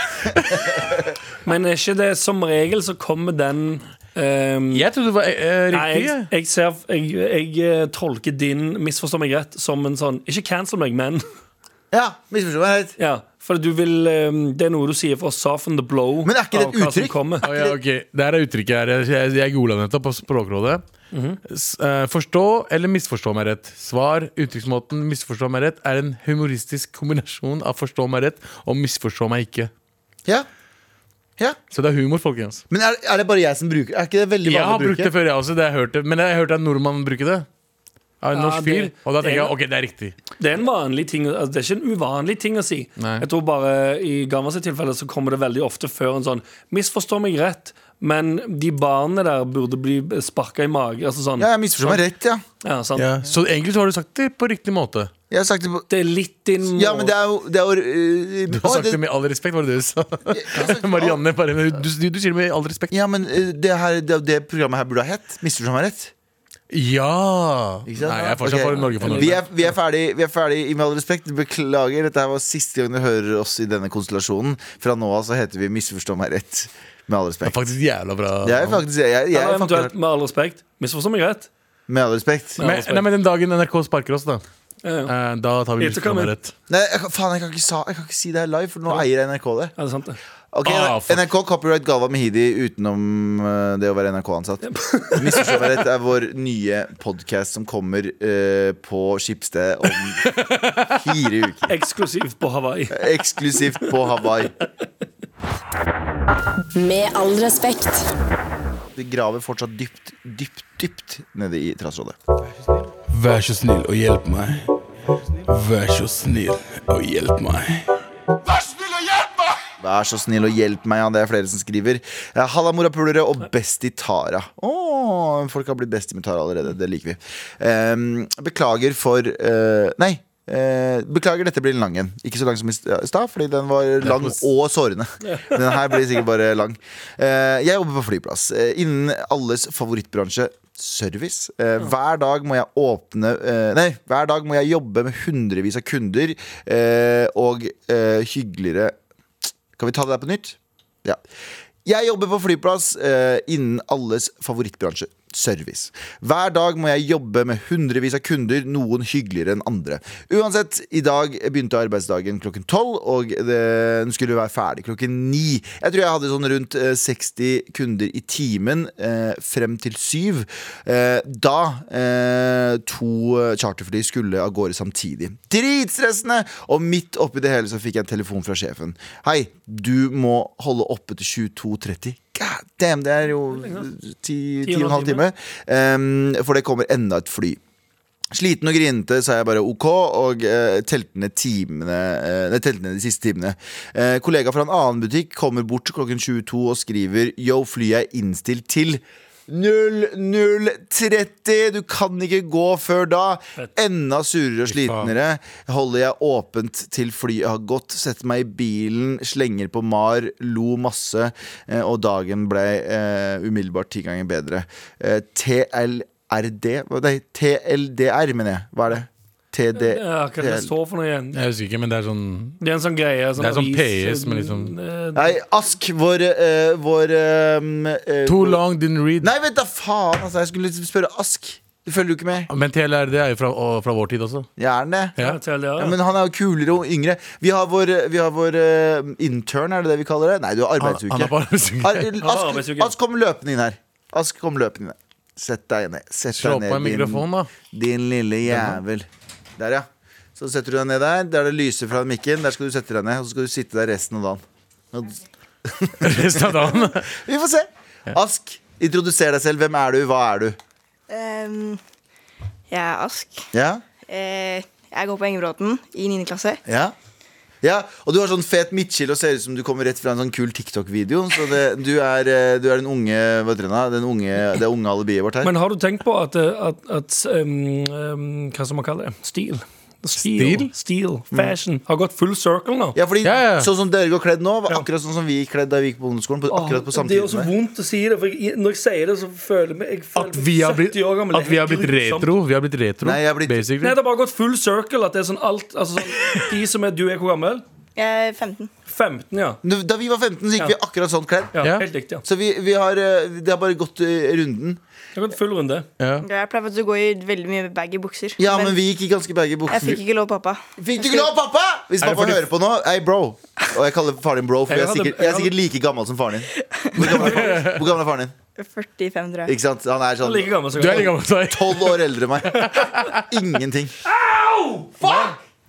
Speaker 3: Men er ikke det som regel så kommer den ehm,
Speaker 4: Jeg trodde det var eh,
Speaker 3: Nei,
Speaker 4: riktig.
Speaker 3: jeg,
Speaker 4: jeg.
Speaker 3: jeg, ser, jeg, jeg eh, tolker din 'misforstå meg rett' som en sånn Ikke cancel meg, men
Speaker 2: Ja, misforstå meg rett.
Speaker 3: ja, For du vil, ehm, det er noe du sier for å soften the blow.
Speaker 2: Men er ikke det
Speaker 3: av
Speaker 2: et
Speaker 3: hva som
Speaker 2: uttrykk?
Speaker 3: kommer.
Speaker 4: Å, ja, ok. Det her er uttrykket her. Jeg, jeg, jeg googla nettopp på Språkrådet. S- eh, forstå eller misforstå meg rett. Svar. Uttrykksmåten 'misforstå meg rett' er en humoristisk kombinasjon av 'forstå meg rett' og 'misforstå meg ikke'.
Speaker 2: Ja. ja.
Speaker 4: Så det er humor, folkens.
Speaker 2: Men er, er det bare jeg som bruker Er ikke det veldig
Speaker 4: Jeg har
Speaker 2: vanlig å
Speaker 4: brukt det
Speaker 2: bruke?
Speaker 4: før, jeg også. Det har jeg hørt det. Men jeg har hørt en nordmann bruke det. Av en
Speaker 3: Ja,
Speaker 4: norsk
Speaker 3: det-
Speaker 4: fyr. Og da
Speaker 3: det
Speaker 4: tenker
Speaker 3: er-
Speaker 4: jeg ok, det er riktig.
Speaker 3: Det er en vanlig ting altså, Det er ikke en uvanlig ting å si.
Speaker 4: Nei.
Speaker 3: Jeg tror bare I Gammas tilfelle så kommer det veldig ofte før en sånn 'misforstå meg rett', men de barna der burde bli sparka i magen. Altså sånn,
Speaker 2: Ja, jeg misforstår meg rett, ja.
Speaker 3: ja, sant?
Speaker 4: Så egentlig så har du sagt det på riktig måte.
Speaker 2: Jeg har sagt det på
Speaker 3: Det er litt din må-
Speaker 2: Ja, men det er jo, det er jo øh,
Speaker 4: Du har
Speaker 2: å,
Speaker 4: sagt
Speaker 2: det-
Speaker 4: det med all respekt, var det det du sa? Marianne, bare, du, du, du sier det med all respekt.
Speaker 2: Ja, men eh, det, her, det, det programmet her burde ha hett. Misforstå meg rett.
Speaker 4: Ja! Nei,
Speaker 2: Ikke sant?
Speaker 4: jeg er fortsatt
Speaker 2: Ok.
Speaker 4: for Norge for
Speaker 2: Vi
Speaker 4: Norge.
Speaker 2: er, vi, er ferdig, vi er ferdig, i med all respekt. Beklager, dette her var siste gang du hører oss i denne konstellasjonen. Fra nå av så heter vi Misforstå meg rett. Med all
Speaker 4: Det er
Speaker 2: respekt.
Speaker 4: faktisk jævla bra.
Speaker 2: Jeg er faktisk, jeg, jeg,
Speaker 3: Eller
Speaker 2: er
Speaker 3: eventuelt,
Speaker 2: faktisk
Speaker 3: med all respekt, misforstå meg rett.
Speaker 2: Med all respekt.
Speaker 3: Ja.
Speaker 2: Nei,
Speaker 4: Men, nei, men den dagen NRK sparker oss, da,
Speaker 3: Ja, ja.
Speaker 4: eh, da tar vi
Speaker 3: Litt å
Speaker 4: misforstå
Speaker 3: komme.
Speaker 4: meg rett.
Speaker 2: jeg, kan- faen, jeg kan, ikke sa, jeg kan ikke si det her live, for nå eier jeg NRK det.
Speaker 3: Er det sant, det?
Speaker 2: Ok,
Speaker 4: Ah, fuck.
Speaker 2: NRK copyright Galva Mehidi utenom eh, det å være NRK-ansatt. Misforstå meg rett er vår nye podkast som kommer eh, på Skipsted om fire uker.
Speaker 3: Eksklusivt på Hawaii.
Speaker 2: Eksklusivt på Hawaii.
Speaker 5: Med all respekt.
Speaker 2: Vi graver fortsatt dypt, dypt, dypt nede i trassrådet.
Speaker 6: Vær så snill og hjelp meg. Vær så snill og hjelp meg.
Speaker 2: Vær så snill og hjelp meg, ja, det er flere som skriver. Eh, Halla, morapulere og besti Tara. Åh, folk har blitt besti med Tara allerede. Det liker vi. Ehm, beklager for eh, Nei. eh, beklager, dette blir en lang en. Ikke så lang som i stad, fordi den var lang og sårende. Den her blir sikkert bare lang. Eh, jeg jobber på flyplass. eh, innen alles favorittbransje service. Eh, hver dag må jeg åpne eh, Nei, hver dag må jeg jobbe med hundrevis av kunder eh, og eh, hyggeligere kan vi ta det der på nytt? Ja. Jeg jobber på flyplass eh, innen alles favorittbransje. Service. Hver dag må jeg jobbe med hundrevis av kunder, noen hyggeligere enn andre. Uansett, i dag begynte arbeidsdagen klokken tolv, og det, den skulle være ferdig klokken ni. Jeg tror jeg hadde sånn rundt eh, 60 kunder i timen eh, frem til syv. Eh, da eh, to eh, charterfly skulle av gårde samtidig. Dritstressende! Og midt oppi det hele så fikk jeg en telefon fra sjefen. Hei, du må holde oppe til 22.30. God damn, det er jo ti, ti og en halv time. Ehm, for det kommer enda et fly. Sliten og grinete, sa jeg bare OK, og eh, telte ned timene eh, nei, telte ned de siste timene. Eh, kollega fra en annen butikk kommer bort klokken 22 og skriver Yo, flyet er innstilt til 00.30. Du kan ikke gå før da. Enda surere og slitnere. Holder jeg åpent til flyet har gått. Setter meg i bilen, slenger på Mar, lo masse. eh, Og dagen ble eh, umiddelbart ti ganger bedre. Eh, TLRD Hva- Nei, TLDR, mener jeg. Hva er det? TD...
Speaker 3: Ja, hva er det det står for noe igjen?
Speaker 4: Jeg husker ikke, men det er sånn
Speaker 3: Det er en sånn greie. Sånn
Speaker 4: Det er sånn
Speaker 3: avis-
Speaker 4: PS, men liksom-
Speaker 3: Eh,
Speaker 2: Nei, Ask, vår, eh, vår eh, eh,
Speaker 4: Too long didn't read.
Speaker 2: Nei, vent da, faen! Altså, jeg skulle spørre Ask. Du følger jo ikke med.
Speaker 4: Men TLRD er jo fra, og, fra vår tid også.
Speaker 2: Jeg er den det.
Speaker 4: Ja.
Speaker 3: ja, til det,
Speaker 2: Ja,
Speaker 3: ja.
Speaker 2: men han er jo kulere og yngre. Vi har vår, vi har vår eh, intern, er det det vi kaller det? Nei, du har
Speaker 4: Han,
Speaker 2: arbeidsuke.
Speaker 4: han er bare
Speaker 2: Ar-
Speaker 4: synger.
Speaker 3: har
Speaker 2: Ask,
Speaker 3: arbeidsuke.
Speaker 2: Ask, kom løpende inn her. Ask, kom løpende inn her. Sett deg ned. Sett
Speaker 4: Slå
Speaker 2: deg
Speaker 4: på en
Speaker 2: ned,
Speaker 4: mikrofon, da.
Speaker 2: din, din lille jævel. Der, ja. Så setter du deg ned der. Der det lyser fra mikken. Der skal du sette deg ned, og så skal du sitte der resten av dagen. Og-
Speaker 4: Resten av dagen.
Speaker 2: Vi får se. Ask, introduser deg selv. Hvem er du? Hva er du?
Speaker 7: Ehm, jeg er Ask.
Speaker 2: Ja?
Speaker 7: Eh, jeg går på Engebråten i 9. klasse.
Speaker 2: Ja ja, og du har sånn fet midtskill og ser ut som du kommer rett fra en sånn kul TikTok-video. Så det, du, er, eh, du er den unge hva heter den da? den unge, det unge alibiet vårt her.
Speaker 3: Men har du tenkt på at, eh, at, at um, um, Hva som man kaller det? Stil. Stil,
Speaker 4: Stil? Mm.
Speaker 3: Stil. fashion. Har gått full circle nå.
Speaker 2: ja, fordi
Speaker 4: Ja, ja.
Speaker 2: Sånn som dere går kledd nå, var akkurat sånn som vi gikk kledd da vi gikk på ungdomsskolen. På, akkurat på
Speaker 3: Åh, det er jo så
Speaker 2: samtidig med
Speaker 3: vondt å si det, for jeg, når jeg sier det, så føler jeg meg, jeg føler
Speaker 4: At vi har
Speaker 3: meg
Speaker 4: blitt,
Speaker 3: 70 år gammel.
Speaker 4: at vi har blitt
Speaker 3: Det er helt grusomt.
Speaker 4: retro. Vi har blitt retro,
Speaker 2: Nei, jeg har blitt-
Speaker 3: Nei,
Speaker 4: basically.
Speaker 3: det har bare gått full circle. At det er sånn alt altså sånn, De som er Du er hvor gammel?
Speaker 7: Jeg er 15.
Speaker 3: 15, ja.
Speaker 2: Nå, Da vi var 15, så gikk vi akkurat sånn kledd.
Speaker 3: ja,
Speaker 4: Ja.
Speaker 3: Helt riktig. Ja.
Speaker 2: Så vi, vi har, eh, det har bare gått eh, runden.
Speaker 3: Det har gått full runde.
Speaker 4: Ja.
Speaker 7: Jeg pleier faktisk å gå i veldig mye baggy bukser.
Speaker 2: Ja, men vi gikk i ganske baggy
Speaker 7: jeg
Speaker 2: bukser.
Speaker 7: fikk ikke lov av pappa.
Speaker 2: Fikk du ikke lov, pappa? Hvis
Speaker 4: Er det
Speaker 2: pappa
Speaker 4: fordi-
Speaker 2: hører på nå, ei bro. Og jeg kaller faren din bro, for
Speaker 3: Jeg
Speaker 2: jeg er
Speaker 3: hadde-
Speaker 2: sikkert, jeg
Speaker 3: jeg
Speaker 2: er
Speaker 3: hadde-
Speaker 2: sikkert like gammel som faren din. Hvor gammel er faren din? Hvor gammel er faren din?
Speaker 7: 45, tror jeg.
Speaker 2: Ikke sant? Han er sånn
Speaker 3: Like gammel som
Speaker 4: Du er like gammel som deg.
Speaker 2: tolv år eldre enn meg. Ingenting.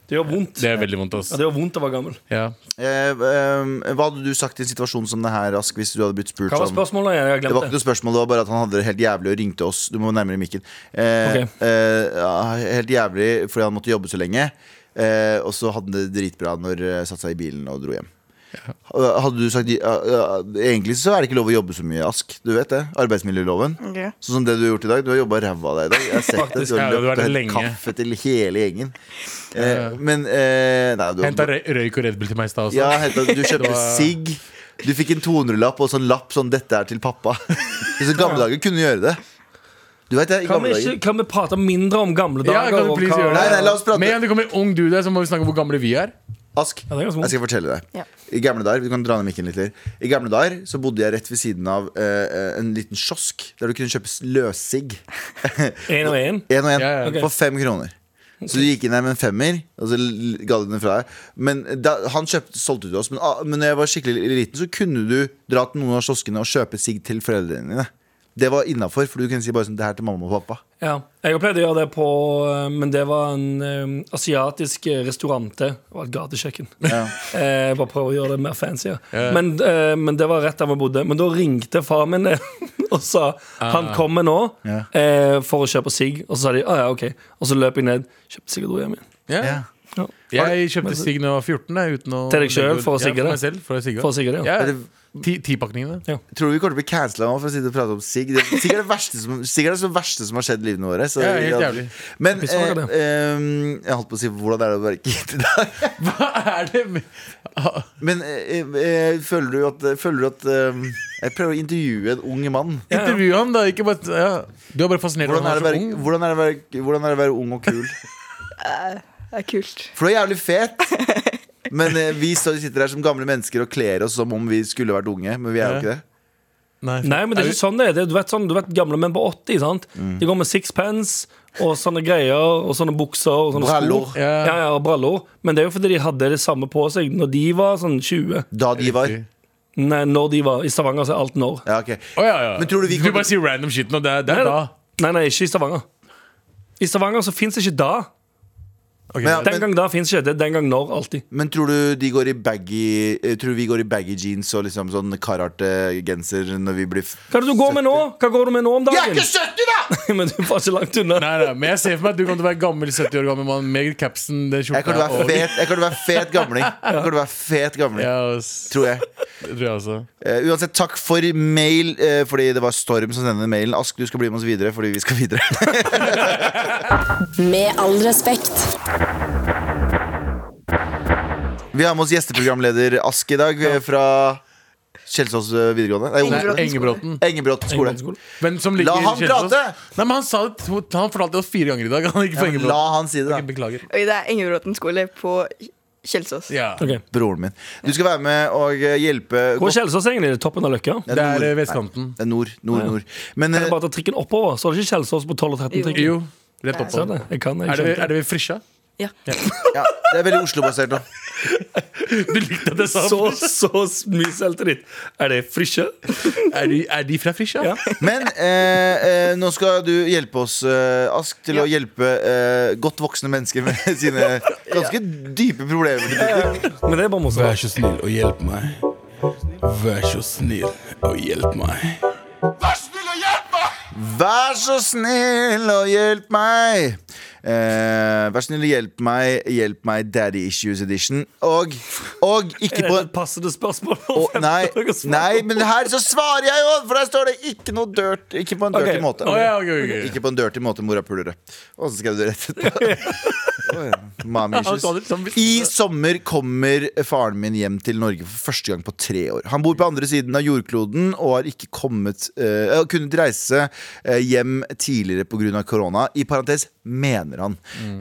Speaker 3: Det gjør vondt.
Speaker 4: Det er veldig vondt, ass.
Speaker 3: Ja, det gjør vondt å være gammel.
Speaker 4: Ja.
Speaker 2: Eh, ehm, hva hadde du sagt i en situasjon som det her, Ask, hvis du hadde blitt spurt
Speaker 3: Hva var
Speaker 2: om
Speaker 3: spørsmålet? igjen? Jeg har
Speaker 2: det var
Speaker 3: glemt
Speaker 2: ikke
Speaker 3: det.
Speaker 2: noe spørsmål, det var bare at han hadde det helt jævlig og ringte oss. Du må nærmere mikken. Eh,
Speaker 3: Ok.
Speaker 2: eh, ja, helt jævlig fordi han måtte jobbe så lenge. Eh, og så hadde han det dritbra når han satte seg i bilen og dro hjem. Eh, Hadde du sagt ja, ja, Egentlig så er det ikke lov å jobbe så mye, Ask. Du vet det. Arbeidsmiljøloven.
Speaker 7: Ok.
Speaker 2: Sånn som det du har gjort i dag. Du har jobba ræva av deg i dag. Jeg har sett det.
Speaker 4: Faktisk,
Speaker 2: Du
Speaker 4: ja,
Speaker 2: har
Speaker 4: du har
Speaker 2: løpt og
Speaker 4: vært
Speaker 2: hentet
Speaker 4: lenge.
Speaker 2: kaffe til hele gjengen. Eh, men eh, Nei, du
Speaker 4: Henta røyk og Red Bull til meg i stad også.
Speaker 2: ja, hentet, du kjøpte
Speaker 4: var-
Speaker 2: sigg. Du fikk en 200-lapp og sånn lapp sånn 'Dette er til pappa'. I så gamle dager kunne du gjøre det. Du vet det, i
Speaker 3: Kan vi,
Speaker 2: gamle
Speaker 3: ikke,
Speaker 2: dager
Speaker 3: kan vi prate mindre om gamle dager?
Speaker 4: Ja, kan du
Speaker 3: og
Speaker 4: please
Speaker 3: hva-
Speaker 4: gjøre det?
Speaker 2: Nei, nei, la oss prate.
Speaker 4: Med en gang det kommer en ung dude der, så må vi snakke om hvor gamle vi er.
Speaker 2: Ask,
Speaker 3: Ja, det er ganske
Speaker 2: jeg skal fortelle deg.
Speaker 7: Ja.
Speaker 2: I gamle dager, vi kan dra ned mikken litt litt. I gamle dager så bodde jeg rett ved siden av eh, en liten kiosk der du kunne kjøpe s- løssigg.
Speaker 3: En og en
Speaker 2: Én og én.
Speaker 4: Ja, ja.
Speaker 3: Ok.
Speaker 2: For fem kroner. Så du gikk inn der med en femmer, og så l- ga du den fra deg. Men da, Han kjøpte, solgte det til oss, men, ah, men når jeg var skikkelig liten, så kunne du dra til noen av kioskene og kjøpe sigg til foreldrene dine. Det var innafor, for du kunne si bare sånn Det her til mamma og pappa.
Speaker 3: Ja, jeg har pleid å gjøre det på eh, Men det var en eh, asiatisk eh, restaurante Det var et gatekjøkken Eh, Jeg bare prøver å gjøre det mer fancy ja. men, eh, men det var rett der vi bodde Men da ringte far min ned Og sa, han kommer nå
Speaker 2: Ja.
Speaker 3: eh, For å kjøpe sig Og så sa de, ah, ja, ok Og så løp jeg ned, kjøpte sig og dro hjem igjen
Speaker 4: Ja.
Speaker 3: ja.
Speaker 4: Jeg kjøpte sigg da jeg var 14. Jeg, uten å
Speaker 3: Til deg selv, for å sigge det.
Speaker 4: ja, for meg selv, for å sigge.
Speaker 3: For å sigge det, ja.
Speaker 4: ja. Ti- Tipakningene.
Speaker 2: Tror du vi kommer til å bli cancela nå for å sitte og prate om sigg? Det- Sigg er det verste som, sigg er det som verste som har skjedd i livene våre. Så,
Speaker 4: Ja, helt jævlig.
Speaker 2: Men
Speaker 3: Vi
Speaker 2: eh,
Speaker 3: smaker det.
Speaker 2: ehm, jeg holdt på å si hvordan er det å være gitt i dag?
Speaker 4: Hva er det med
Speaker 2: Men eh, eh, føler du at, føler du at ehm, Jeg prøver å intervjue en ung mann.
Speaker 4: Intervju ham, da. Ikke bare, ja. Du er bare fascinert av
Speaker 2: Hvordan er,
Speaker 4: at
Speaker 2: det å
Speaker 4: han er
Speaker 2: være,
Speaker 4: så ung.
Speaker 2: hvordan, er det å være, hvordan er det å være ung og kul?
Speaker 7: Det er kult.
Speaker 2: For du er jævlig fet. Men eh, vi står- sitter her som gamle mennesker og kler oss som om vi skulle vært unge. Men vi er jo ikke det.
Speaker 3: Nei, men det er ikke sånn det er. Det er. Du vet, sånn, du vet gamle menn på 80, sant?
Speaker 2: Mm.
Speaker 3: De går med sixpence og sånne greier, og sånne bukser og sånne
Speaker 2: Brallor.
Speaker 3: sko. Ja, ja, og brallor. Men det er jo fordi de hadde det samme på seg når de var sånn 20.
Speaker 2: Da de var.
Speaker 3: Nei, når de var I Stavanger så er alt når.
Speaker 2: Ja, ok
Speaker 4: Å, ja, ja.
Speaker 2: Men tror du vi kommer
Speaker 4: bare sier random shit nå. Det er, det er da.
Speaker 3: Nei, nei, ikke i Stavanger. I Stavanger så fins ikke da.
Speaker 4: Ok.
Speaker 2: Men-
Speaker 3: Den gang da fins ikke. Det er den gang når alltid.
Speaker 2: Men tror du de går i baggy eh, Tror du vi går i baggy jeans og liksom sånn Karate-genser når vi blir f-
Speaker 3: Hva er det du går med nå? Hva går du med nå om
Speaker 2: Jeg er
Speaker 3: dagen?
Speaker 2: ikke 70, da!
Speaker 3: Men du var ikke langt unna.
Speaker 4: Nei, nei, men jeg ser for meg at du kommer til å være gammel 70 år gammel mann med capsen, den
Speaker 2: Jeg
Speaker 4: skjorta
Speaker 2: kommer til å
Speaker 4: og
Speaker 2: være fet, jeg kommer til å være fet gamling. Jeg kommer til å være fet gamling
Speaker 4: Ja, ass.
Speaker 2: Tror jeg.
Speaker 4: Det tror jeg også.
Speaker 2: Eh, uansett, takk for mail, eh, fordi det var Storm som sendte mailen. Ask, du skal bli med oss videre, fordi vi skal videre.
Speaker 5: Med all respekt.
Speaker 2: Vi har med oss gjesteprogramleder Ask i dag eh, fra Kjelsås eh, videregående. Nei,
Speaker 4: Nei,
Speaker 2: ungdomsskole.
Speaker 4: Engebråten.
Speaker 2: Engebråt skole.
Speaker 4: Men som ligger
Speaker 2: La
Speaker 4: i
Speaker 2: han
Speaker 4: Kjelsås.
Speaker 2: prate!
Speaker 4: Nei, men han, sa det to, han fortalte det oss fire ganger i dag. Han gikk på
Speaker 2: Ja, men la
Speaker 4: Engebråten.
Speaker 2: han si det, da.
Speaker 4: Beklager.
Speaker 7: Oi, det er Engebråten skole på Kjelsås.
Speaker 4: Ja.
Speaker 3: Ok.
Speaker 2: Broren min. Du skal være med og eh, hjelpe
Speaker 3: Hvor er Kjelsås egentlig? Det er Toppen av Løkka?
Speaker 2: Ja,
Speaker 4: Det er
Speaker 2: nord.
Speaker 4: eh, vestkanten.
Speaker 2: Nei, Nord, nord, nord. Men
Speaker 3: Kan
Speaker 2: eh,
Speaker 3: jeg bare ta trikken oppover? Så er det ikke Kjelsås på 12 og 13 trikken?
Speaker 4: Jo, rett
Speaker 3: Ser
Speaker 4: oppå.
Speaker 3: det? Jeg kan, jeg
Speaker 4: Er det,
Speaker 3: skjønte.
Speaker 4: er det ved Frisja?
Speaker 7: Ja.
Speaker 2: ja, det er veldig Oslo-basert nå.
Speaker 4: Du likte at jeg sa
Speaker 3: Så, så mye selvtillit. Er det frisje?
Speaker 4: Er de, er de fra Frisja?
Speaker 3: Ja.
Speaker 2: Men eh, eh, nå skal du hjelpe oss, eh, Ask, til å hjelpe eh, godt voksne mennesker med sine ganske dype problemer. til tider.
Speaker 3: Men det er bare
Speaker 6: Vær
Speaker 3: morsomt.
Speaker 6: så snill og hjelp meg. Vær så snill og hjelp meg.
Speaker 2: Vær så snill og hjelp meg! Eh, vær så snill og hjelp meg, hjelp meg Daddy Issues Edition. Og, og ikke
Speaker 3: Er
Speaker 2: på
Speaker 3: det et passende spørsmål?
Speaker 2: og, nei, nei, men her så svarer jeg jo! For der står det ikke noe dirt. Ikke på en dirty
Speaker 3: Ok.
Speaker 2: måte.
Speaker 4: Å, ja, ok, ok, ok.
Speaker 2: Ikke på en dirty måte, morapulere. Og så skrev du rett etterpå. Å, ja. Mommy
Speaker 4: Han sa det
Speaker 2: issues.
Speaker 4: som-
Speaker 2: I sommer kommer faren min hjem til Norge for første gang på tre år. Han bor på andre siden av jordkloden og har ikke kommet eh, og kunnet reise eh, hjem tidligere pga. korona. I parentes mener han.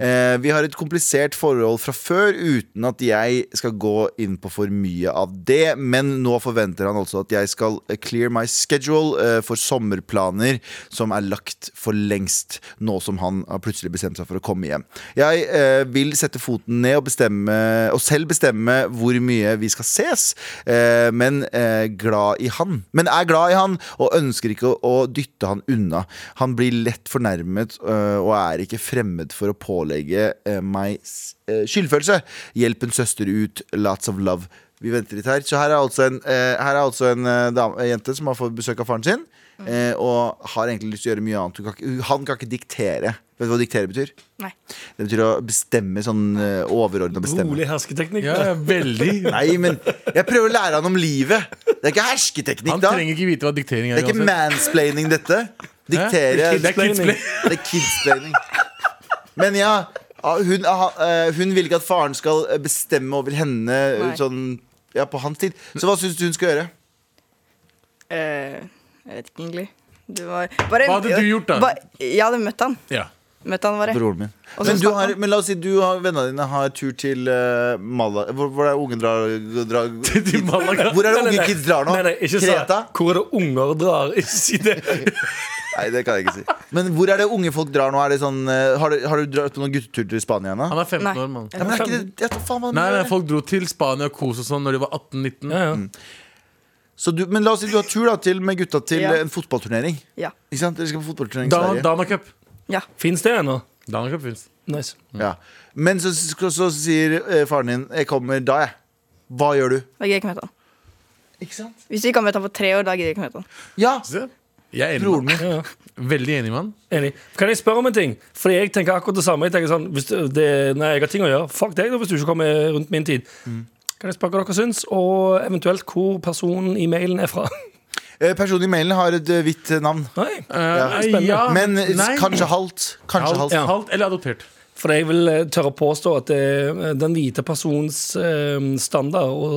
Speaker 2: Eh, vi har et komplisert forhold fra før, uten at jeg skal gå inn på for mye av det. Men nå forventer han altså at jeg skal eh, clear my schedule eh, for sommerplaner som er lagt for lengst, nå som han har plutselig bestemt seg for å komme hjem. Jeg eh, vil sette foten ned og, bestemme, og selv bestemme hvor mye vi skal ses, eh, men, eh, glad i han. men er glad i han og ønsker ikke å, å dytte han unna. Han blir lett fornærmet eh, og er ikke fremmed for å pålegge eh, meg s- eh, skyldfølelse. Hjelp en søster ut. Lots of love. Vi venter litt her. Så her er altså en, eh, her er altså en eh, dame, eh, jente som har fått besøk av faren sin. eh, og har egentlig lyst til å gjøre mye annet. Hun kan ikke, hun- han kan ikke diktere. Vet du hva diktere betyr?
Speaker 7: Nei.
Speaker 2: Det betyr å bestemme sånn eh, overordna bestemme.
Speaker 3: Rolig hersketeknikk.
Speaker 4: Ja, ja, veldig.
Speaker 2: Nei, men jeg prøver å lære han om livet. Det er ikke hersketeknikk,
Speaker 4: Han
Speaker 2: da.
Speaker 4: trenger ikke vite hva diktering
Speaker 2: Det
Speaker 4: er.
Speaker 2: er ikke
Speaker 4: uansett.
Speaker 2: mansplaining, dette.
Speaker 4: Hæ?
Speaker 2: Diktere
Speaker 4: Det er kidsplay.
Speaker 2: Det er kidsplaining. Men ja, hun, aha, eh, hun vil ikke at faren skal eh, bestemme over henne eh, sånn, ja, på hans tid. Så hva syns du hun skal gjøre?
Speaker 7: Eh, jeg vet ikke egentlig. Det var bare,
Speaker 4: Hva hadde du gjort da?
Speaker 7: Ba, jeg hadde møtt han.
Speaker 4: Ja.
Speaker 7: Møtt han bare.
Speaker 2: Broren min.
Speaker 7: Og så
Speaker 2: Men, du
Speaker 7: snakker
Speaker 2: har,
Speaker 7: han.
Speaker 2: men la oss si du og vennene dine har tur til uh, Mala... Hvor, hvor er det unge drar, drar
Speaker 4: Til Malaga.
Speaker 2: Hvor er det
Speaker 3: Nei, nei,
Speaker 2: unge
Speaker 3: nei.
Speaker 2: kids drar nå?
Speaker 3: Nei, nei, ikke så.
Speaker 2: Kreta?
Speaker 3: Hvor er det unger drar? Ikke si det.
Speaker 2: Nei, det kan jeg ikke si. Men hvor er det unge folk drar nå? Er det sånn, eh, har, du, har du dratt på noen guttetur til Spania ennå?
Speaker 4: Han er 15
Speaker 7: Nei.
Speaker 4: år, mann.
Speaker 2: Ja, men er ikke det, jeg tar faen hva
Speaker 4: Nei, nei,
Speaker 2: det er.
Speaker 4: folk dro til Spania og kos og sånn når de var 18-19.
Speaker 3: Ja, ja.
Speaker 2: Så du, men la oss si du har tur da, til, med gutta til
Speaker 7: Ja.
Speaker 2: eh, en fotballturnering.
Speaker 7: Ja.
Speaker 2: Ikke sant? Dere skal på fotballturnering i
Speaker 4: Dan-
Speaker 2: Sverige.
Speaker 4: Danacup.
Speaker 7: ja.
Speaker 3: Fins det ennå?
Speaker 4: Danacup fins.
Speaker 3: Nice.
Speaker 2: Ja. Men så, så, så sier eh, faren din 'jeg kommer da', jeg. Hva gjør du?
Speaker 7: Da gidder jeg ikke møte han.
Speaker 2: Ikke sant?
Speaker 7: Hvis du ikke har møtt han på tre år, da gidder jeg ikke møte han.
Speaker 2: Ja!
Speaker 4: Se, Jeg er enig.
Speaker 2: Broren min.
Speaker 3: Ja, ja.
Speaker 4: mann. Veldig enig, mann.
Speaker 3: Enig. Kan jeg spørre om en ting? Fordi jeg tenker akkurat det samme. Jeg tenker sånn, hvis det, nei, jeg har ting å gjøre. Fuck deg da, hvis du ikke kommer rundt min tid.
Speaker 2: Mm.
Speaker 3: Kan jeg spørre hva dere syns, og eventuelt hvor personen i mailen er fra?
Speaker 2: Eh, Personen i mailen har et eh, hvitt eh, navn.
Speaker 3: Nei,
Speaker 4: Eh,
Speaker 3: spennende.
Speaker 4: ja,
Speaker 2: Men eh,
Speaker 4: nei.
Speaker 2: kanskje halvt. Kanskje
Speaker 4: halvt,
Speaker 2: halvt.
Speaker 3: Ja.
Speaker 4: halvt eller adoptert.
Speaker 3: For jeg vil eh, tørre å påstå at eh, den hvite persons eh, standard og,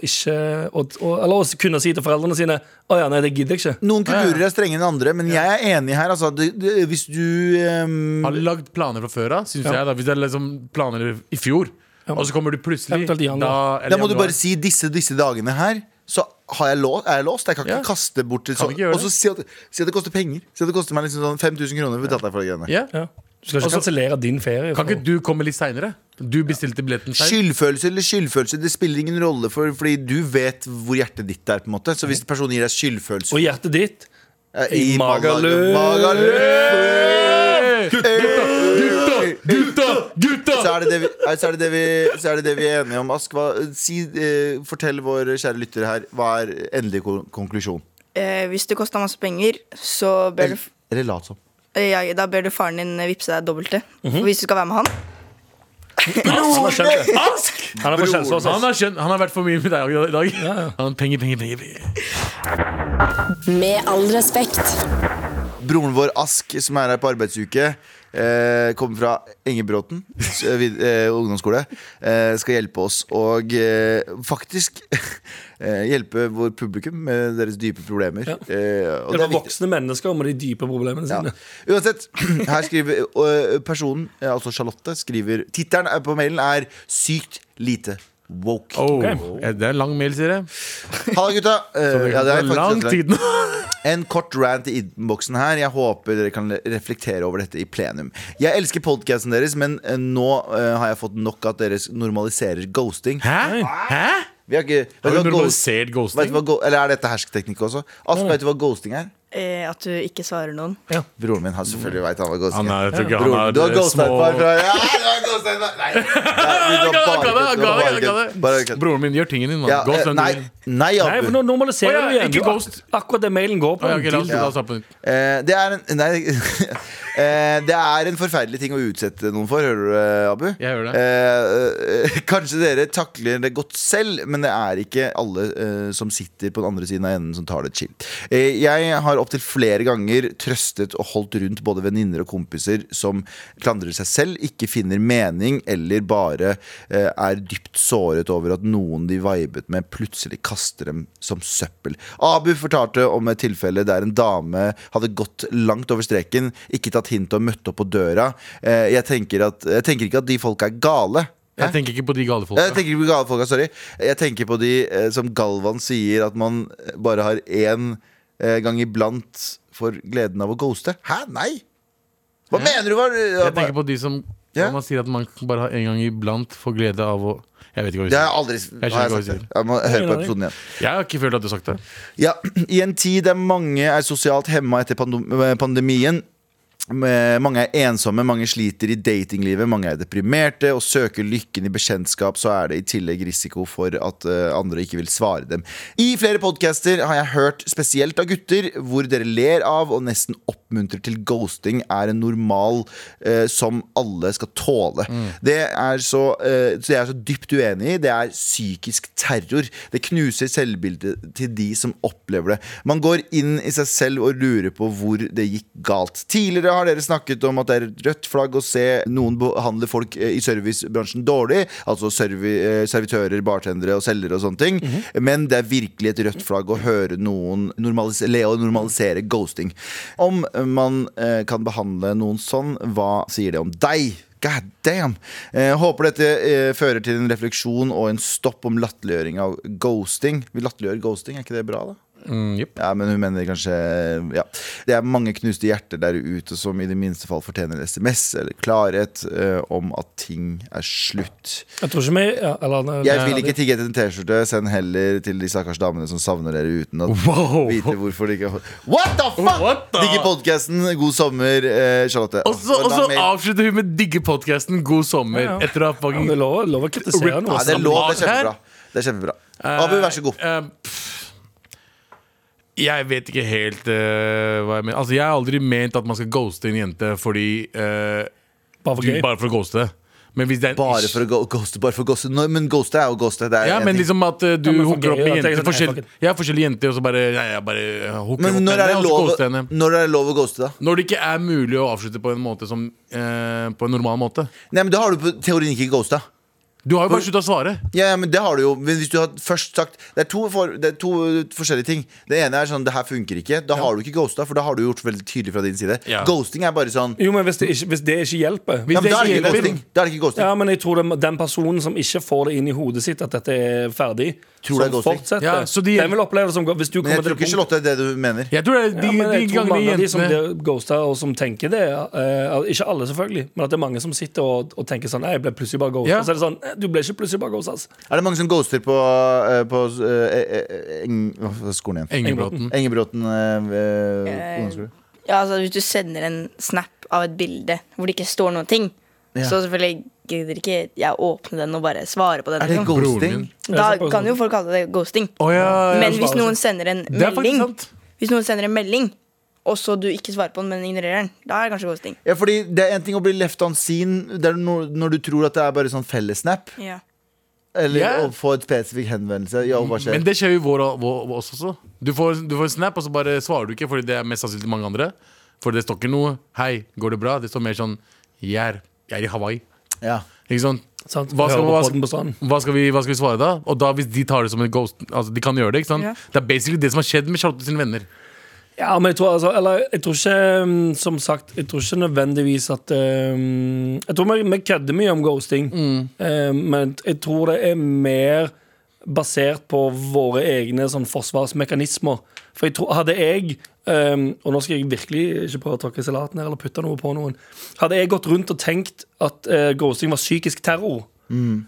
Speaker 3: og ikke og, og, Eller å kunne si til foreldrene sine Å ja, nei, det gidder jeg ikke.
Speaker 2: Noen kulturer er strenge enn andre, men jeg er enig her. Altså, det, det, hvis du ehm,
Speaker 4: Har lagd planer fra før av, syns jeg. da Hvis det er liksom planer i fjor, og så kommer du plutselig
Speaker 3: Eventuelt i januar.
Speaker 4: eller
Speaker 2: Da må du
Speaker 4: januar.
Speaker 2: bare si disse, disse dagene her Så har jeg lå- er jeg låst Jeg kan ikke
Speaker 4: Ja.
Speaker 2: kaste bort et
Speaker 4: Kan
Speaker 2: sånt-
Speaker 4: ikke gjøre
Speaker 2: Og så si at, si at det koster penger Si at det koster meg liksom sånn 5000 kroner for å ta deg for de greiene.
Speaker 4: Ja.
Speaker 3: Ja. Du skal ikke
Speaker 4: Altså,
Speaker 3: kansellere din ferie.
Speaker 4: Kan
Speaker 3: for-
Speaker 4: ikke du komme litt seinere? Du bestilte billetten seint.
Speaker 2: Skyldfølelse eller skyldfølelse Det spiller ingen rolle for, Fordi du vet hvor hjertet ditt er på en måte Så hvis personen gir deg skyldfølelse
Speaker 3: Og hjertet ditt
Speaker 2: eh,
Speaker 3: i Magaluf.
Speaker 2: Magaluf
Speaker 4: Gutta, gutta, gutta!
Speaker 2: Eh, Så er det det vi, nei, så er det det vi, så er, det det vi er enige om. Ask, hva, si, eh, fortell vår kjære lytter her, hva er endelig kon- konklusjon?
Speaker 7: Eh, hvis det koster masse penger, så ber du,
Speaker 2: Eller, eller lat som.
Speaker 7: eh, ja, da ber du faren din eh, vippse deg dobbelte. Hvis du skal være med han.
Speaker 3: Han har skjønt det. Han er på Kjelsås.
Speaker 4: Han
Speaker 3: ass.
Speaker 4: har, skjønt, han har vært for mye med deg i dag. Han har penger, penger, penger. penger.
Speaker 5: Med all respekt.
Speaker 2: Broren vår Ask, som er her på arbeidsuke, eh, kommer fra Engebråten s- vid- eh, ungdomsskole. Eh, skal hjelpe oss og eh, faktisk eh, hjelpe vår publikum med deres dype problemer. Eh, og det
Speaker 3: Det var
Speaker 2: er viktig.
Speaker 3: voksne mennesker med de dype problemene
Speaker 2: Ja.
Speaker 3: sine.
Speaker 2: Uansett, her skriver ø, personen, eh, altså Charlotte, skriver Tittelen er- på mailen er 'Sykt lite woke'.
Speaker 4: Oh,
Speaker 3: Ok.
Speaker 4: ja, Det er en lang mail, sier jeg.
Speaker 2: Ha det, gutta! Eh,
Speaker 4: Det
Speaker 2: ja, det er
Speaker 4: er lang
Speaker 2: faktisk ganske
Speaker 4: tid nå.
Speaker 2: En kort rant i innboksen her. Jeg håper dere kan reflektere over dette i plenum. Jeg elsker podkasten deres, men eh, nå eh, har jeg fått nok at dere normaliserer ghosting.
Speaker 4: Hæ? Hæ?
Speaker 2: Vi har ikke vet
Speaker 4: Har
Speaker 2: du
Speaker 4: du
Speaker 2: hva ghost- vet
Speaker 4: normalisert
Speaker 2: du
Speaker 4: ghosting?
Speaker 2: hva go- Eller er dette hersketeknikk også? Ask, vet du hva ghosting er?
Speaker 7: Eh, at du ikke svarer noen.
Speaker 2: Broren min har selvfølgelig veit han hva ghosting
Speaker 4: Han
Speaker 2: er.
Speaker 4: er, jeg tror ikke
Speaker 2: Broren,
Speaker 4: han
Speaker 2: du har
Speaker 4: er eh,
Speaker 2: ghosta et
Speaker 4: små
Speaker 2: par fra Ja, du har ghosta et par Nei! Nei, du har bare
Speaker 4: Ga det, ga
Speaker 2: kødd,
Speaker 4: det,
Speaker 2: du
Speaker 4: ga
Speaker 2: har
Speaker 4: det,
Speaker 2: bare kødd.
Speaker 4: ga
Speaker 2: Bare
Speaker 4: det.
Speaker 2: kødd.
Speaker 4: Broren min gjør tingen din. mann.
Speaker 2: Ja,
Speaker 4: Ghost
Speaker 2: eh,
Speaker 4: den
Speaker 2: Nei,
Speaker 4: du vil.
Speaker 2: nei,
Speaker 3: Nei, for
Speaker 2: Abu.
Speaker 3: nå normaliserer
Speaker 4: Å,
Speaker 3: du
Speaker 4: ja,
Speaker 3: igjen.
Speaker 4: ikke
Speaker 3: Du-
Speaker 4: ghost.
Speaker 3: Akkurat det mailen går på.
Speaker 4: Å, ja, ok, la oss-
Speaker 2: Ja.
Speaker 4: la oss ta på nytt.
Speaker 2: Eh, Det er en Nei. eh, Det er en forferdelig ting å utsette noen for, hører du, eh, Abu?
Speaker 4: Jeg hører det.
Speaker 2: Eh, eh, kanskje dere takler det godt selv, men det er ikke alle eh, som sitter på den andre siden av enden som tar det chill. Eh, jeg har opptil flere ganger trøstet og holdt rundt både venninner og kompiser som klandrer seg selv, ikke finner mening eller bare eh, er dypt såret over at noen de vibet med, plutselig kaster dem som søppel. Abu fortalte om et tilfelle der en dame hadde gått langt over streken, ikke tatt hint og møtt opp på døra. Eh, jeg, tenker at, jeg tenker ikke at de folka er gale.
Speaker 4: Jeg tenker ikke på de gale
Speaker 2: Jeg
Speaker 4: folka.
Speaker 2: tenker ikke på gale folka, sorry. Jeg tenker på de eh, som Galvan sier, at man bare har én eh, gang iblant for gleden av å ghoste. Hæ? Nei! Hva mener du? Hva,
Speaker 4: Jeg tenker på de som
Speaker 2: Ja.
Speaker 4: når man sier at man bare har en gang iblant får glede av å Jeg vet ikke hva vi
Speaker 2: det har
Speaker 4: sier.
Speaker 2: jeg aldri
Speaker 4: Jeg skjønner
Speaker 2: har jeg
Speaker 4: hva du
Speaker 2: sagt.
Speaker 4: sier.
Speaker 2: det? Jeg må høre på
Speaker 3: Nei, nei.
Speaker 2: episoden igjen.
Speaker 4: Jeg har ikke følt at du har sagt det.
Speaker 2: Ja, I en tid der mange er sosialt hemma etter pandem- eh, pandemien eh, mange er ensomme, mange sliter i datinglivet, mange er deprimerte og søker lykken i bekjentskap, så er det i tillegg risiko for at eh, andre ikke vil svare dem. I flere podcaster har jeg hørt, spesielt av gutter, hvor dere ler av og nesten oppmuntrer til ghosting er en normal eh, som alle skal tåle. Det, er så, eh, så jeg er så dypt uenig i. Det er psykisk terror. Det knuser selvbildet til de som opplever det. Man går inn i seg selv og lurer på hvor det gikk galt. Tidligere har dere snakket om at det er et rødt flagg å se noen behandler folk eh, i servicebransjen dårlig, altså servi eh, servitører, bartendere og selgere og sånne ting, men det er virkelig et rødt flagg å høre noen normalise le og normalisere ghosting. Om man eh, kan behandle noen sånn, hva sier det om deg? God damn! Eh, håper dette eh, fører til en refleksjon og en stopp om latterliggjøring av ghosting. Vi latterliggjør ghosting, er ikke det bra, da?
Speaker 4: Mm, jep.
Speaker 2: Ja, men hun mener kanskje ja. Det er mange knuste hjerter der ute som i det minste fall fortjener SMS eller klarhet eh, om at ting er slutt.
Speaker 3: Jeg tror ikke vi ja, eller,
Speaker 2: Jeg vil ikke tigge etter en T-skjorte. Send heller til de stakkars damene som savner dere uten å
Speaker 4: Wow.
Speaker 2: vite hvorfor de ikke What the fuck?!
Speaker 4: What the-
Speaker 2: Digger podkasten. God sommer, eh, Charlotte.
Speaker 4: Og så
Speaker 2: Og
Speaker 4: og
Speaker 2: la
Speaker 4: så
Speaker 2: meg-
Speaker 4: avslutter hun med digge podkasten 'God sommer'
Speaker 3: Ja, ja.
Speaker 4: etter
Speaker 3: Ja,
Speaker 4: å ha
Speaker 3: men Det
Speaker 4: fucking
Speaker 3: er lov, lov å kritisere
Speaker 2: ja,
Speaker 3: noe.
Speaker 2: det er lov. Det er
Speaker 4: Her.
Speaker 2: kjempebra. Det er kjempebra. Abu, vær så god.
Speaker 4: Eh, pff. jeg vet ikke helt eh, hva jeg mener. Altså, jeg har aldri ment at man skal ghoste en jente fordi eh,
Speaker 3: Bare for
Speaker 4: du,
Speaker 3: gøy.
Speaker 4: Bare for å ghoste. Men hvis det er en
Speaker 2: Bare
Speaker 4: ish-
Speaker 2: for å go- ghoste, bare for å ghoste. Nå- Men ghoste er jo ghoste. Det er
Speaker 4: ja,
Speaker 2: en
Speaker 4: men
Speaker 2: ting.
Speaker 4: liksom at eh, du
Speaker 3: Ja, men for
Speaker 4: hooker opp
Speaker 3: gøy, at
Speaker 4: med
Speaker 3: jeg
Speaker 4: jenter
Speaker 3: ikke sånn,
Speaker 4: forskjell,
Speaker 3: nei, fuck
Speaker 4: Jeg har forskjellige jenter, og så bare ja, jeg bare eh, hooker
Speaker 2: men
Speaker 4: opp med
Speaker 2: når er,
Speaker 4: henne,
Speaker 2: det
Speaker 4: og så
Speaker 2: lov,
Speaker 4: ghoster jeg henne.
Speaker 2: når er det lov å ghoste, da?
Speaker 4: Når det ikke er mulig å avslutte på en måte som eh, På en normal måte.
Speaker 2: Nei, men Da har du på teorien ikke ghosta.
Speaker 4: Du har jo bare slutta å svare.
Speaker 2: Ja, ja, men det har du jo Men hvis du har først sagt Det er to, for, det er to uh, forskjellige ting. Det ene er sånn det her funker ikke. Da har du ikke ghosta, for da har du gjort veldig tydelig fra din side.
Speaker 4: Ja.
Speaker 2: Ghosting er bare sånn
Speaker 3: Jo, men hvis det ikke, hvis det ikke hjelper
Speaker 2: ja, men
Speaker 4: Hvis det
Speaker 2: Da er det
Speaker 4: ikke
Speaker 2: ikke
Speaker 4: hjelper-
Speaker 2: ghosting. Da er det ikke ghosting.
Speaker 3: Ja, men jeg tror den, den personen som ikke får det inn i hodet sitt at dette er ferdig,
Speaker 2: Tror det er
Speaker 3: som
Speaker 2: ghosting.
Speaker 3: fortsetter,
Speaker 4: Ja, så de-
Speaker 3: den vil oppleve det som Hvis du
Speaker 2: Men
Speaker 3: kommer
Speaker 2: jeg
Speaker 3: til
Speaker 2: tror
Speaker 3: det
Speaker 2: ikke
Speaker 3: punkt
Speaker 2: Charlotte er det du mener.
Speaker 4: Jeg tror det er de,
Speaker 3: ja, men
Speaker 4: de
Speaker 3: jeg tror
Speaker 4: gangene
Speaker 3: mange av de som
Speaker 4: jentene
Speaker 3: blir ghosta og som tenker det eh, Ikke alle, selvfølgelig, men at det er mange som sitter og, og tenker sånn Nei, jeg ble plutselig bare ghosta.
Speaker 4: Ja.
Speaker 3: Så er det sånn eh, Du ble ikke plutselig bare ghosta. ass.
Speaker 2: Er det mange som ghoster på, uh, på uh, eh, eh, Eng... Hva er skolen igjen?
Speaker 4: Engebråten.
Speaker 2: Engebråten eh, ved
Speaker 7: Eh,
Speaker 2: ungdomsskole.
Speaker 7: Ja, altså Hvis du sender en snap av et bilde hvor det ikke står noen ting, så selvfølgelig gidder ikke jeg åpne den og bare svare på den.
Speaker 2: Er det
Speaker 7: liksom.
Speaker 2: ghosting?
Speaker 7: Da kan jo folk kalle det ghosting.
Speaker 4: Å, ja, ja,
Speaker 7: Men
Speaker 4: ja.
Speaker 7: hvis noen sender en
Speaker 4: Det er faktisk
Speaker 7: melding,
Speaker 4: sant.
Speaker 7: Hvis noen sender en melding og så du ikke svarer på den, men ignorerer den, da er det kanskje ghosting.
Speaker 2: Ja, fordi Det er en ting å bli left on scene Det er når, når du tror at det er bare sånn fellessnap.
Speaker 7: Ja.
Speaker 2: Eller
Speaker 4: Ja.
Speaker 2: å få et spesifikk henvendelse. Ja, hva skjer?
Speaker 4: Men det skjer jo i vår, vår, vår oss også. Du får, du får en snap, og så bare svarer du ikke, fordi det er mest sannsynlig mange andre. For det står ikke noe 'hei, går det bra?' Det står mer sånn 'jeg er, jeg er i Hawaii'.
Speaker 2: ja.
Speaker 4: Ikke sant?
Speaker 3: Sant?
Speaker 4: Hva skal,
Speaker 3: Hører
Speaker 4: hva,
Speaker 3: på podden på
Speaker 4: skal,
Speaker 3: stranden.
Speaker 4: hva, skal vi, hva skal vi svare da? Og da hvis de tar det som en ghost Altså de kan gjøre det, ikke sant?
Speaker 7: Ja.
Speaker 4: Det er basically det som har skjedd med Charlotte sine venner.
Speaker 3: Ja, men jeg tror, altså, eller, jeg tror ikke mm, Som sagt, jeg tror ikke nødvendigvis at um, Jeg tror vi, vi kødder mye om ghosting, Eh, men jeg tror det er mer basert på våre egne sånn, forsvarsmekanismer. For jeg tror, hadde jeg um, Og nå skal jeg virkelig ikke prøve å tråkke i salaten her eller putte noe på noen. Hadde jeg gått rundt og tenkt at eh, ghosting var psykisk terror, um,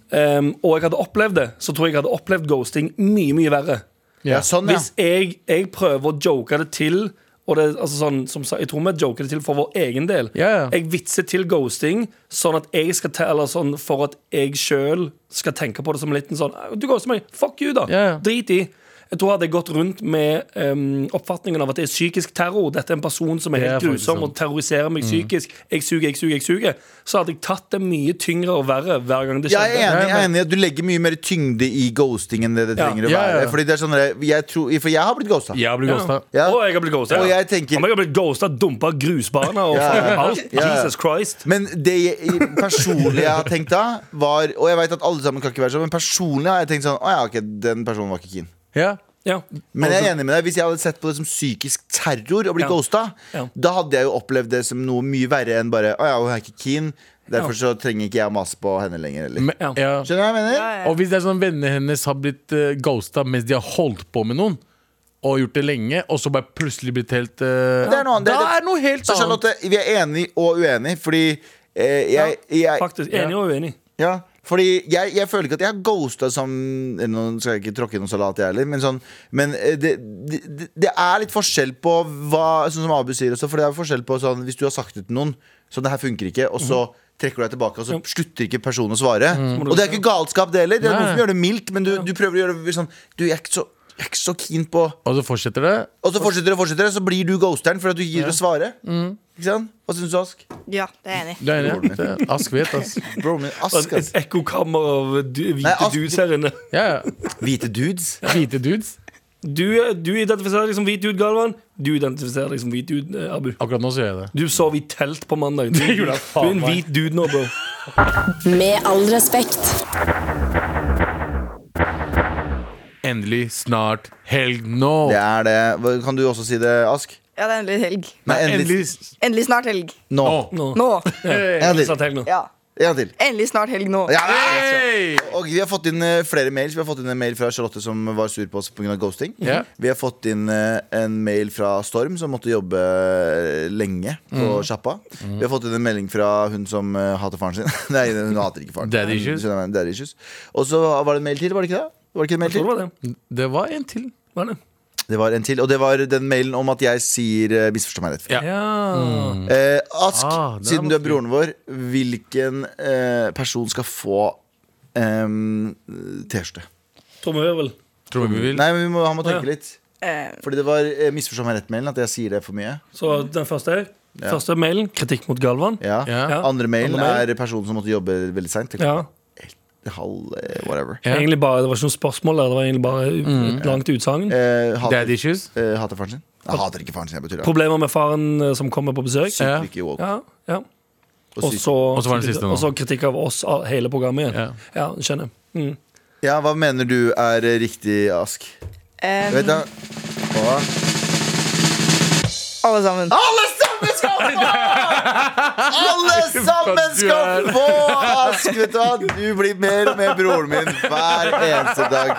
Speaker 3: og jeg hadde opplevd det, så tror jeg jeg hadde opplevd ghosting mye, mye verre.
Speaker 2: ja, sånn, ja.
Speaker 3: Hvis jeg, jeg prøver å joke det til og det, altså sånn, som sa, Jeg tror vi joker det til for vår egen del.
Speaker 4: Ja, ja.
Speaker 3: Jeg vitser til ghosting sånn at jeg skal te, eller sånn for at jeg sjøl skal tenke på det som en liten sånn Du ghoster meg. Fuck you, da.
Speaker 4: Ja, ja.
Speaker 3: Drit i. Jeg tror hadde jeg gått rundt med em, oppfatningen av at det er psykisk terror, dette er en person som er
Speaker 4: Det er
Speaker 3: helt
Speaker 4: faktisk Mm.
Speaker 3: grusom og terroriserer meg psykisk, jeg suger, jeg suger, jeg suger, så hadde jeg tatt det mye tyngre og verre hver gang det
Speaker 2: Jeg er
Speaker 3: skjedde.
Speaker 2: enig, jeg er enig i at Du legger mye mer tyngde i ghosting enn det det
Speaker 3: Ja.
Speaker 2: trenger å
Speaker 4: Ja, ja,
Speaker 2: være.
Speaker 4: ja.
Speaker 2: Fordi det er sånn der, jeg tror, For jeg har blitt ghosta.
Speaker 4: Jeg blir ghosta.
Speaker 2: Ja.
Speaker 3: Og jeg har blitt ghosta.
Speaker 2: Og
Speaker 3: ja.
Speaker 2: jeg tenker-
Speaker 3: Om jeg har blitt ghosta, dumpa grusbana og
Speaker 2: Ja, ja.
Speaker 3: alt.
Speaker 2: Ja, ja.
Speaker 3: Jesus Christ.
Speaker 2: Men det jeg, personlig jeg har tenkt da, var Og jeg vet at alle sammen kan ikke være sånn, men personlig har jeg tenkt sånn Å ja, ok, den personen var ikke keen.
Speaker 4: Ja.
Speaker 3: Ja.
Speaker 2: Men jeg er enig med deg, hvis jeg hadde sett på det som psykisk terror å bli
Speaker 3: Ja.
Speaker 2: ghosta,
Speaker 3: Ja.
Speaker 2: da hadde jeg jo opplevd det som noe mye verre enn bare Å ja, hun er ikke keen, derfor så trenger ikke jeg å mase på henne lenger, eller.
Speaker 4: Men,
Speaker 3: Ja.
Speaker 4: ja.
Speaker 2: Skjønner du hva jeg mener?
Speaker 7: Ja, ja.
Speaker 4: Og hvis det er sånn vennene hennes har blitt eh, ghosta mens de har holdt på med noen, og gjort det lenge, og så bare plutselig blitt helt eh,
Speaker 2: Det er noe annet.
Speaker 4: Da
Speaker 2: Det er-
Speaker 4: er noe helt
Speaker 2: Så
Speaker 4: annet.
Speaker 2: Charlotte, vi er enige og uenige, fordi eh, jeg, jeg
Speaker 3: Faktisk. Enig og uenig.
Speaker 2: Ja, fordi jeg, jeg føler ikke at jeg har ghosta som eh, Nå skal jeg ikke tråkke i noen salat, jeg heller, men, sånn, men eh, det, det, det er litt forskjell på hva Sånn som Abu sier også, for det er forskjell på sånn hvis du har sagt det til noen Sånn, det her funker ikke, og så trekker du deg tilbake, og så slutter ikke personen å svare. Og det er ikke galskap, det heller. Det er
Speaker 4: Nei.
Speaker 2: noen som gjør det mildt, men du, du prøver å gjøre det sånn Du, jeg er ikke så, jeg er ikke så keen på
Speaker 4: Og så fortsetter det.
Speaker 2: Og så fortsetter det og fortsetter, det, så blir du ghosteren fordi at du ikke gidder å svare. Ikke sant? Hva syns du, Ask?
Speaker 7: Ja, det er jeg enig. i.
Speaker 4: Du er enig? ja? Det- Ask vet, altså.
Speaker 2: Bro, men Ask,
Speaker 3: Et
Speaker 2: ass.
Speaker 3: ekkokammer av du- hvite
Speaker 2: Nei, altså, ass-
Speaker 3: dudes her inne.
Speaker 4: Ja, ja.
Speaker 2: Hvite dudes.
Speaker 4: Hvite dudes.
Speaker 3: Du, du identifiserer deg som hvit dude, Galvan. Du identifiserer deg som hvit dude, eh, Abu.
Speaker 4: Akkurat nå så gjør jeg det.
Speaker 3: Du sov i telt på mandag. Du, du
Speaker 4: gjorde jeg faen
Speaker 3: er en
Speaker 4: meg.
Speaker 3: hvit dude nå, bro.
Speaker 5: Med all respekt.
Speaker 4: Endelig, snart, helg nå.
Speaker 2: Det er det. Hva- Kan du også si det, Ask?
Speaker 7: Ja, det er endelig helg.
Speaker 2: Nei, endelig.
Speaker 4: Endelig.
Speaker 7: Endelig snart helg.
Speaker 2: Nå.
Speaker 3: Nå.
Speaker 7: Nå.
Speaker 2: En
Speaker 3: Jeg
Speaker 2: til.
Speaker 3: satt helt nå.
Speaker 7: Ja.
Speaker 2: En til.
Speaker 7: Endelig snart helg nå.
Speaker 2: Ja,
Speaker 4: Hey!
Speaker 2: og vi har fått inn eh, flere mails. Vi har fått inn en mail fra Charlotte som var sur på oss pga. ghosting.
Speaker 4: Ja.
Speaker 2: Vi har fått inn eh, en mail fra Storm som måtte jobbe eh, lenge på
Speaker 4: Mm.
Speaker 2: sjappa. Vi har fått inn en melding fra hun som eh, hater faren sin. Nei, hun hater ikke faren.
Speaker 4: Daddy issues.
Speaker 2: Skjønner jeg, Daddy issues. Og så var det en mail til, var det ikke det? Var det ikke en mail
Speaker 3: Tror
Speaker 2: til?
Speaker 3: det var det.
Speaker 4: Det var en til.
Speaker 3: Var det?
Speaker 2: Det var en til, Og det var den mailen om at jeg sier eh, 'misforstå meg rett'.
Speaker 4: Ja.
Speaker 3: Ja.
Speaker 2: Eh, Ask,
Speaker 4: Ah, det er
Speaker 2: siden du er
Speaker 4: vanskelig.
Speaker 2: broren vår, hvilken eh, person skal få em, T-skjorte?
Speaker 3: Trommehøvel.
Speaker 4: Tror vi vil.
Speaker 2: Nei, men vi må, han må
Speaker 3: Å,
Speaker 2: tenke
Speaker 3: ja.
Speaker 2: litt.
Speaker 7: Eh,
Speaker 2: Fordi det var eh, misforstå meg rett-mailen, at jeg sier det for mye.
Speaker 3: Så den første her.
Speaker 2: Ja.
Speaker 3: Første mailen, kritikk mot Galvan.
Speaker 2: Ja.
Speaker 4: Ja.
Speaker 2: Andre mailen
Speaker 3: Andre mail.
Speaker 2: er personen som måtte jobbe veldig seint.
Speaker 3: Ja.
Speaker 2: Halv eh, whatever.
Speaker 4: Ja.
Speaker 3: Egentlig bare, det var ikke noe spørsmål der, det var egentlig bare et langt utsagn.
Speaker 2: Eh, hater,
Speaker 4: Daddy issues.
Speaker 2: eh, hater faren sin? Jeg hater ikke faren sin, jeg betyr det.
Speaker 3: Problemer med faren eh, som kommer på besøk.
Speaker 4: Ja.
Speaker 2: Sykt ikke woke.
Speaker 3: Ja, ja.
Speaker 2: Og
Speaker 3: Og
Speaker 2: sykt-
Speaker 3: så,
Speaker 4: Og så var den siste nå.
Speaker 3: og så kritikk av oss, av hele programmet igjen. Ja, skjønner. Mm.
Speaker 2: Ja, hva mener du er eh, riktig, Ask?
Speaker 7: eh,
Speaker 2: Vet du, hva?
Speaker 7: alle sammen.
Speaker 2: Alle sammen skal få! Alle sammen skal få! Ask, vet du hva? Du blir mer og mer broren min hver eneste dag.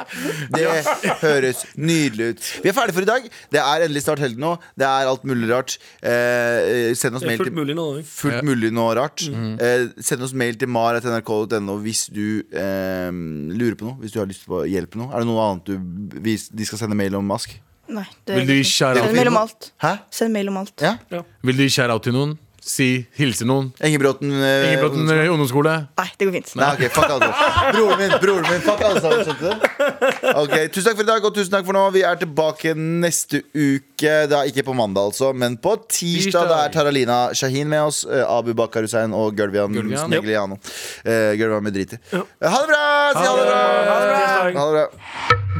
Speaker 2: Det høres nydelig ut. Vi er ferdige for i dag. Det er endelig snart helg nå. Det er alt mulig rart. Eh, eh, send oss
Speaker 3: Det
Speaker 2: mail
Speaker 3: er fullt
Speaker 2: til
Speaker 3: mulig Mm. nå òg.
Speaker 2: Fullt mulig nå, rart. Eh, send oss mail til mar.nrk.no hvis du eh, lurer på noe. Hvis du har lyst på hjelp med noe. Er det noe annet du, hvis de skal sende mail om Ask?
Speaker 7: Nei, det
Speaker 4: Vil du gi
Speaker 7: Send
Speaker 4: shout-out
Speaker 7: mail om alt.
Speaker 2: Hæ?
Speaker 7: Send mail om alt.
Speaker 2: Ja?
Speaker 4: Vil du gi shout-out til noen? si hilse noen.
Speaker 2: Engebråten eh,
Speaker 4: Ingebråten eh, ungdomsskole.
Speaker 7: Nei, det går fint.
Speaker 2: Nei, ok, fuck alle sammen. Broren min, broren min, fuck alle sammen. skjønte du? Ok, Tusen takk for i dag, og tusen takk for nå. Vi er tilbake neste uke. Da Ikke på mandag, altså, men på tirsdag. Da er Taralina Shahin med oss. eh, Abu Bakar Hussein og Gulvian
Speaker 4: Gulvian.
Speaker 2: Smegliano. Uh, Gulvian med drit i. Eh, Ha det bra! Si ha det bra!
Speaker 3: Ha det bra!
Speaker 2: Ha det bra.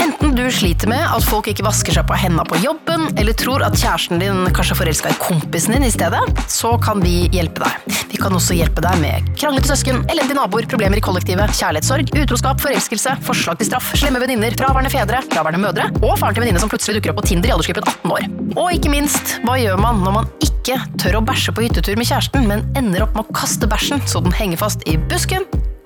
Speaker 8: Enten du sliter med at folk ikke vasker seg på hendene på jobben, eller tror at kjæresten din kanskje forelska i kompisen din i stedet, så kan vi hjelpe deg. Vi kan også hjelpe deg med kranglete søsken, elendige naboer, problemer i kollektivet, kjærlighetssorg, utroskap, forelskelse, forslag til straff, slemme venninner, fraværende fedre, fraværende mødre, og faren til venninne som plutselig dukker opp på Tinder i aldersgruppen 18 år. Og ikke minst, hva gjør man når man ikke tør å bæsje på hyttetur med kjæresten, men ender opp med å kaste bæsjen så den henger fast i busken?